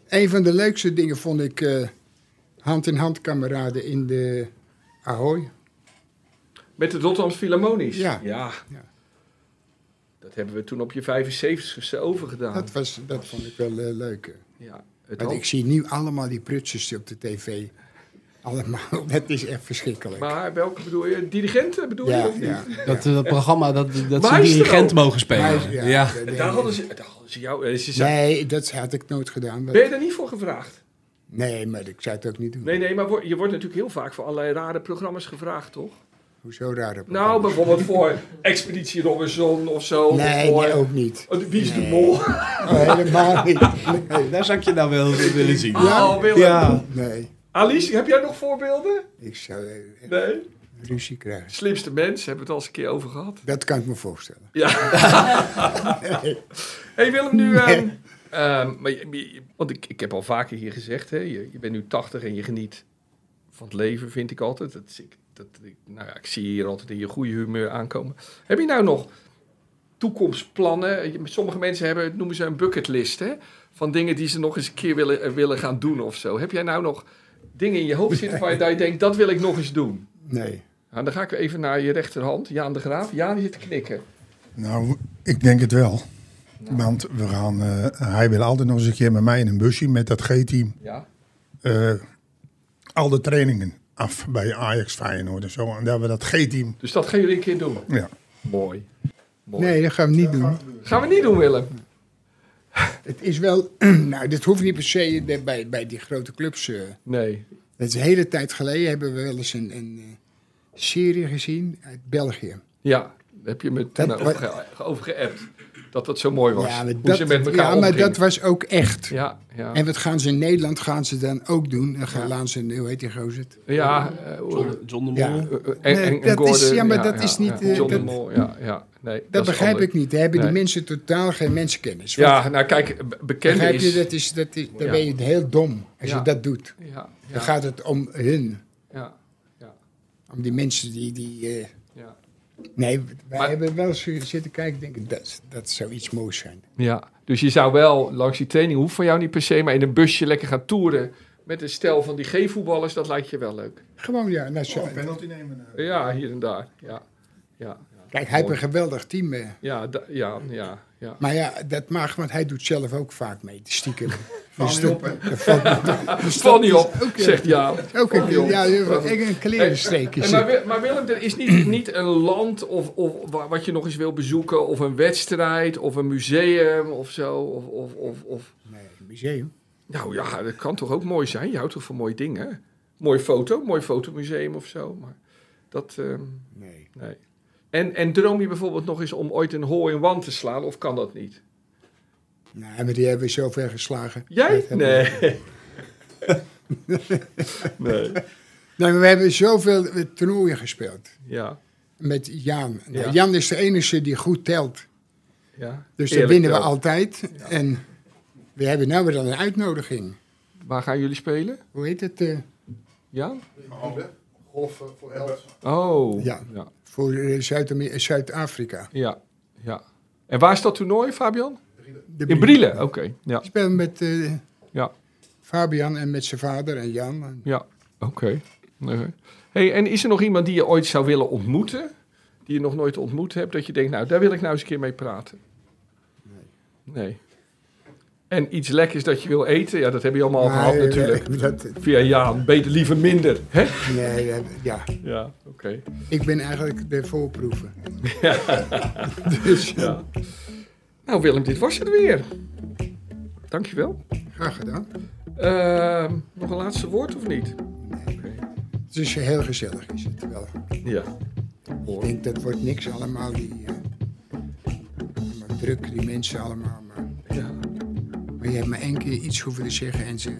B: Een van de leukste dingen vond ik eh, hand-in-hand kameraden in de Ahoy.
C: Met de Rotterdamse Philharmonisch?
B: Ja.
C: ja.
B: Ja.
C: Dat hebben we toen op je 75ste overgedaan.
B: Dat, was, dat vond ik wel eh, leuk. hè.
C: ja, het
B: Want
C: had-
B: ik zie nu allemaal die prutsers op de tv. Allemaal. Dat is echt verschrikkelijk.
C: Maar welke bedoel je? Dirigenten bedoel je?
B: ja,
C: of niet?
B: ja.
E: Dat, eh, dat programma, dat, dat ze
C: Maestro.
E: dirigent mogen spelen.
B: Maar-
E: Ja.
C: En daar hadden ze, daar hadden ze jou... eh, Ze zei-
B: Nee, dat had ik nooit gedaan. want-
C: Ben je daar niet voor gevraagd?
B: Nee, maar ik zou het ook niet doen.
C: Nee, nee, maar wo- je wordt natuurlijk heel vaak voor allerlei rare programma's gevraagd, toch?
B: Hoezo raar op
C: Nou, bijvoorbeeld voor Expeditie Robinson of zo. of
B: Nee,
C: voor,
B: nee, ook niet.
C: Oh, Wie is de
B: Nee.
C: mol?
B: Oh, helemaal niet. Nee,
E: Daar zou ik je nou wel willen zien.
C: Oh, Willem.
E: Ja.
B: nee.
C: Alice, heb jij nog voorbeelden?
B: ik zou eh,
C: Nee.
B: ruzie krijgen.
C: Slimste mens, hebben we het al eens een keer over gehad.
B: Dat kan ik me voorstellen.
C: Ja. hey Willem, nu... ehm, ehm, maar je- je- want ik, ik heb al vaker hier gezegd, hè, je, je bent nu 80 en je geniet van het leven, vind ik altijd. Dat, is- ik, dat, ik- nou ja, ik zie je hier altijd in je goede humeur aankomen. Heb je nou nog toekomstplannen? Je- Sommige mensen hebben, noemen ze een bucketlist, hè? Van dingen die ze nog eens een keer willen, eh, willen gaan doen of zo. Heb jij nou nog dingen in je hoofd zitten waar je, daar je denkt, dat wil ik nog eens doen?
B: Nee.
C: Nou, dan ga ik even naar je rechterhand, Jaan de Graaf. Jaan die zit te knikken.
G: Nou, ik denk het wel. Want we gaan, eh, hij wil altijd nog eens een keer met mij in een busje met dat G-team.
C: Ja.
G: eh, al de trainingen af bij Ajax, Feyenoord en zo. En daar hebben we dat G-team.
C: Dus dat gaan jullie een keer doen.
G: Ja.
C: Mooi. Mooi.
B: Nee, dat gaan we niet doen.
C: Gaan we niet doen, Willem.
B: Het is wel, nou, dit hoeft niet per se de- bij, bij die grote clubs. eh.
C: Nee.
B: Het is een hele tijd geleden hebben we wel eens een, een eh, serie gezien uit België.
C: Ja, daar heb je me toen
B: Dat-
C: over, ge- over geappt. Dat dat zo mooi was.
B: maar
C: Hoe
B: dat,
C: ze met elkaar
B: ja, maar
C: omgingen.
B: dat was ook echt.
C: Ja, ja.
B: En wat gaan ze in Nederland gaan ze dan ook doen? Dan gaan laten ze, hoe heet die gozer? het?
C: ja eh, hoe-
E: John, John de Mol.
B: Ja.
C: eh, eh, en-
B: Nee,
C: en- en
B: dat is-
C: Gordon,
B: ja, maar dat is niet, eh,
C: John de
B: dat-
C: Mol, ja, ja. Nee,
B: Dat,
C: is
B: begrijp
C: anders.
B: ik niet. Daar hebben die
C: Nee.
B: mensen totaal geen mensenkennis. Want
C: Ja, nou kijk, be- bekende
B: begrijp
C: is...
B: je, dat is, dat is, dan
C: Ja.
B: ben je heel dom als
C: Ja.
B: je dat doet.
C: Ja,
B: Dan
C: ja,
B: gaat het om hun,
C: ja,
B: om die mensen die... die eh,
C: ja.
B: nee, wij
C: Maar-
B: hebben wel eens zitten kijken en denken, dat, dat zou iets moois zijn.
C: Ja, dus je zou wel langs die training, hoeft van jou niet per se, maar in een busje lekker gaan toeren met een stel van die G-voetballers, dat lijkt je wel leuk.
B: Gewoon ja, nou,
C: Oh,
B: zo,
G: penalty
F: eh.
G: nemen.
C: Ja, hier en daar. Ja, ja,
B: kijk, hij heeft een geweldig team. eh.
C: ja, da- ja, ja, ja.
B: Maar ja, dat mag, want hij doet zelf ook vaak mee, stiekem. Dus
G: Val niet op, hè?
B: Dat valt niet op.
C: Val niet op, zegt ja.
B: Ook een, ja, een klerenstreek
C: En
B: is
C: maar,
B: het.
C: Wi- maar Willem, er is niet, niet een land of, of wa- wat je nog eens wil bezoeken, of een wedstrijd, of een museum of zo. Of, of, of, of.
B: Nee, museum.
C: Nou ja, dat kan toch ook mooi zijn? Je houdt toch van mooie dingen? Mooi foto, mooi fotomuseum of zo. Maar dat, ehm,
B: Nee.
C: nee. En, en droom je bijvoorbeeld nog eens om ooit een hole in one te slaan, of kan dat niet?
B: Nou, maar die hebben we zover geslagen.
C: Jij?
B: Dat hebben we-
C: Nee. nee.
B: Nee, maar we hebben zoveel eh, toernooien gespeeld.
C: Ja.
B: Met Jan. Nou,
C: Ja.
B: Jan is de enige die goed telt.
C: ja.
B: Dus
C: Eerlijk
B: dat winnen we
C: wel.
B: altijd. En we hebben nou weer dan een uitnodiging.
C: Waar gaan jullie spelen?
B: Hoe heet het? eh,
C: Ja?
G: Golf voor elf.
C: Oh.
B: Ja.
C: Ja.
B: voor eh, Zuid-Ame- eh, Zuid-Afrika.
C: ja. ja. En waar is dat toernooi, Fabian?
B: De
C: In
B: Brie-
C: Brielen. Oké. Ja.
B: Ik speel met eh,
C: Ja. Oh,
B: Fabian en met zijn vader en Jan. En
C: Ja. Oké. Oké. Hey, en is er nog iemand die je ooit zou willen ontmoeten? Die je nog nooit ontmoet hebt? Dat je denkt, nou, daar wil ik nou eens een keer mee praten. Nee. Nee. En iets lekkers dat je wil eten? Ja, dat heb je allemaal al
B: Maar,
C: gehad
B: eh,
C: natuurlijk.
B: dat-
C: Via Jaan. Beter liever minder. Hè?
B: Nee, eh, ja.
C: Ja, oké.
B: Ik ben eigenlijk de Dus, voorproeven.
C: Ja. Nou Willem, dit was het weer. Dankjewel.
B: Graag gedaan.
C: Ehm nog een laatste woord of niet?
B: Het is heel gezellig, is het wel.
C: Ja.
B: Ik denk dat wordt niks allemaal. Die, eh, allemaal druk, die mensen allemaal. Maar,
C: Ja.
B: maar je hebt maar één keer iets hoeven te zeggen en ze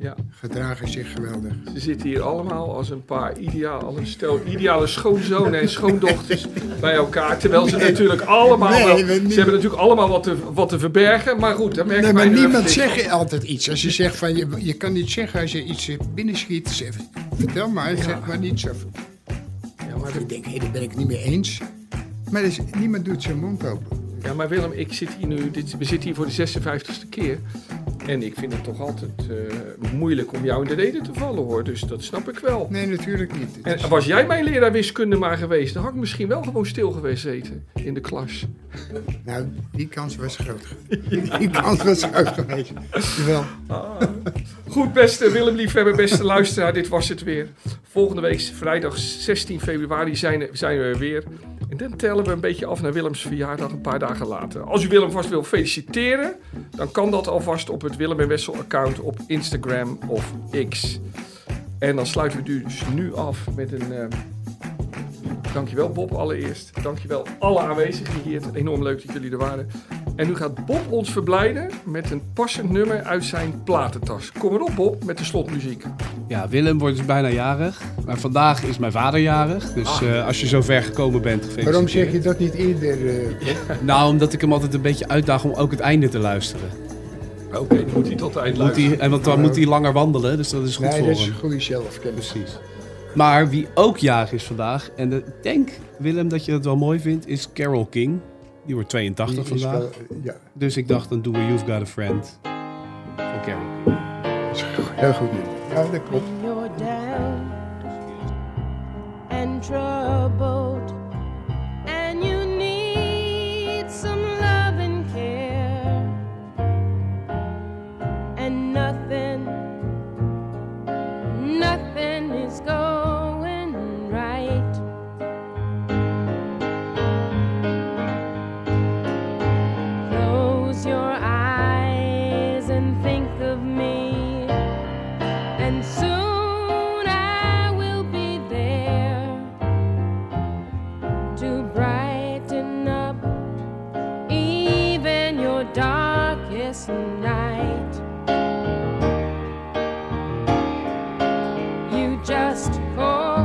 C: ja.
B: gedragen zich geweldig.
C: Ze zitten hier allemaal als een paar ideale, stel ideale schoonzonen en schoondochters bij elkaar. Terwijl ze natuurlijk allemaal
B: Nee,
C: wel,
B: we niet.
C: ze hebben natuurlijk allemaal wat te, wat te verbergen. Maar goed, daar merken
B: Nee,
C: wij
B: maar
C: nu
B: niemand
C: even niks
B: zegt altijd iets. Als je zegt van je, je kan niet zeggen als je iets eh, binnenschiet. Zeg, vertel maar, zeg maar niets. Of,
C: van. Ja
B: of
C: maar,
B: ik denk, hé, daar ben ik het niet mee eens. Maar er is- niemand doet zijn mond open.
C: ja, maar Willem, ik zit hier nu, dit, we zitten hier voor de 56e keer. En ik vind het toch altijd eh, moeilijk om jou in de reden te vallen hoor, dus dat snap ik wel.
B: Nee, natuurlijk niet. Het is-
C: En was jij mijn leraar wiskunde maar geweest, dan had ik misschien wel gewoon stil geweest zitten in de klas.
B: Nou, die kans was groot. geweest. Die kans was groot geweest. Jawel.
C: Goed, beste Willem Liefhebber, beste luisteraar, dit was het weer. Volgende week, vrijdag 16 februari, zijn, zijn we er weer. En dan tellen we een beetje af naar Willems verjaardag een paar dagen later. Als u Willem vast wil feliciteren, dan kan dat alvast op het Willem en Wessel account op Instagram of X. En dan sluiten we dus nu af met een... eh, Dankjewel Bob allereerst. Dankjewel alle aanwezigen hier. Het Enorm leuk dat jullie er waren. En nu gaat Bob ons verblijden met een passend nummer uit zijn platentas. Kom erop Bob met de slotmuziek.
E: Ja, Willem wordt dus bijna jarig. Maar vandaag is mijn vader jarig. Dus eh, als je zo ver gekomen bent, gefeliciteerd.
B: Ah. Waarom zeg je dat niet eerder? eh?
E: Nou, omdat ik hem altijd een beetje uitdaag om ook het einde te luisteren.
C: Oké, dan moet hij tot het eind
E: Moet hij, en want dan moet hij langer wandelen, dus dat is goed
B: nee,
E: voor
B: dat is
E: hem.
B: goede zelfkennis.
E: Precies. Maar wie ook jarig is vandaag, en de- ik denk, Willem, dat je dat wel mooi vindt, is Carol King. Die wordt 82
B: Die is
E: vandaag.
B: wel- Ja,
E: Dus ik dacht, dan doen we You've Got a Friend van Carol King.
B: heel goed. nummer. Ja, dat klopt.
H: When you're down and troubled, and you need some love and care, and nothing, nothing is going right. Close your eyes and think of me and soon I will be there to brighten up even your darkest night. You just call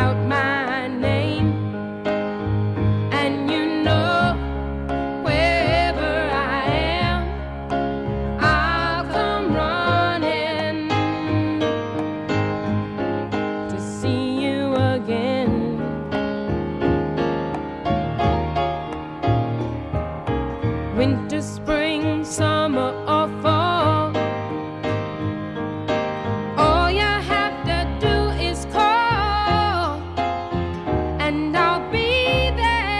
H: out my name, and you know wherever I am. I'll come running to see you again. Winter, spring, summer, or fall. All you have to do is call, and I'll be there.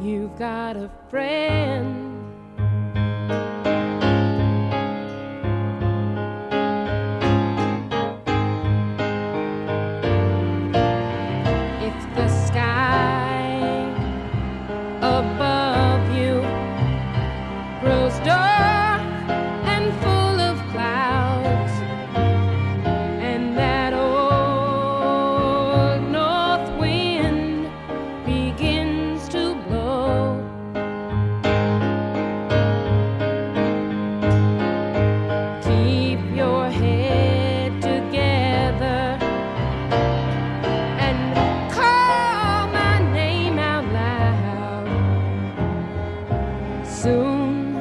H: You've got a friend. If the sky above you grows dark and full of clouds, and that old north wind begins to blow. Keep your head together and call my name out loud. Soon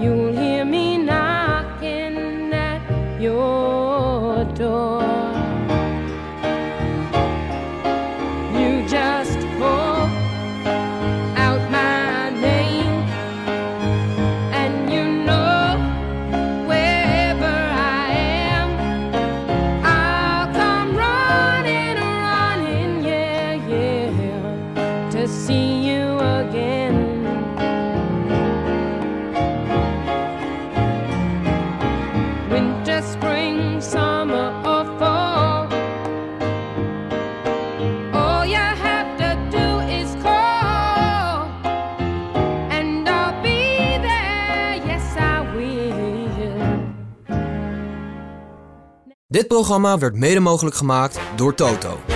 H: you'll hear me knocking at your door. You just call out my name and you know wherever I am, I'll come running, running, yeah, yeah, to see you again. Winter, spring, summer, or fall, all you have to do is call. And I'll be there, yes, I will.
A: Dit programma werd mede mogelijk gemaakt door Toto.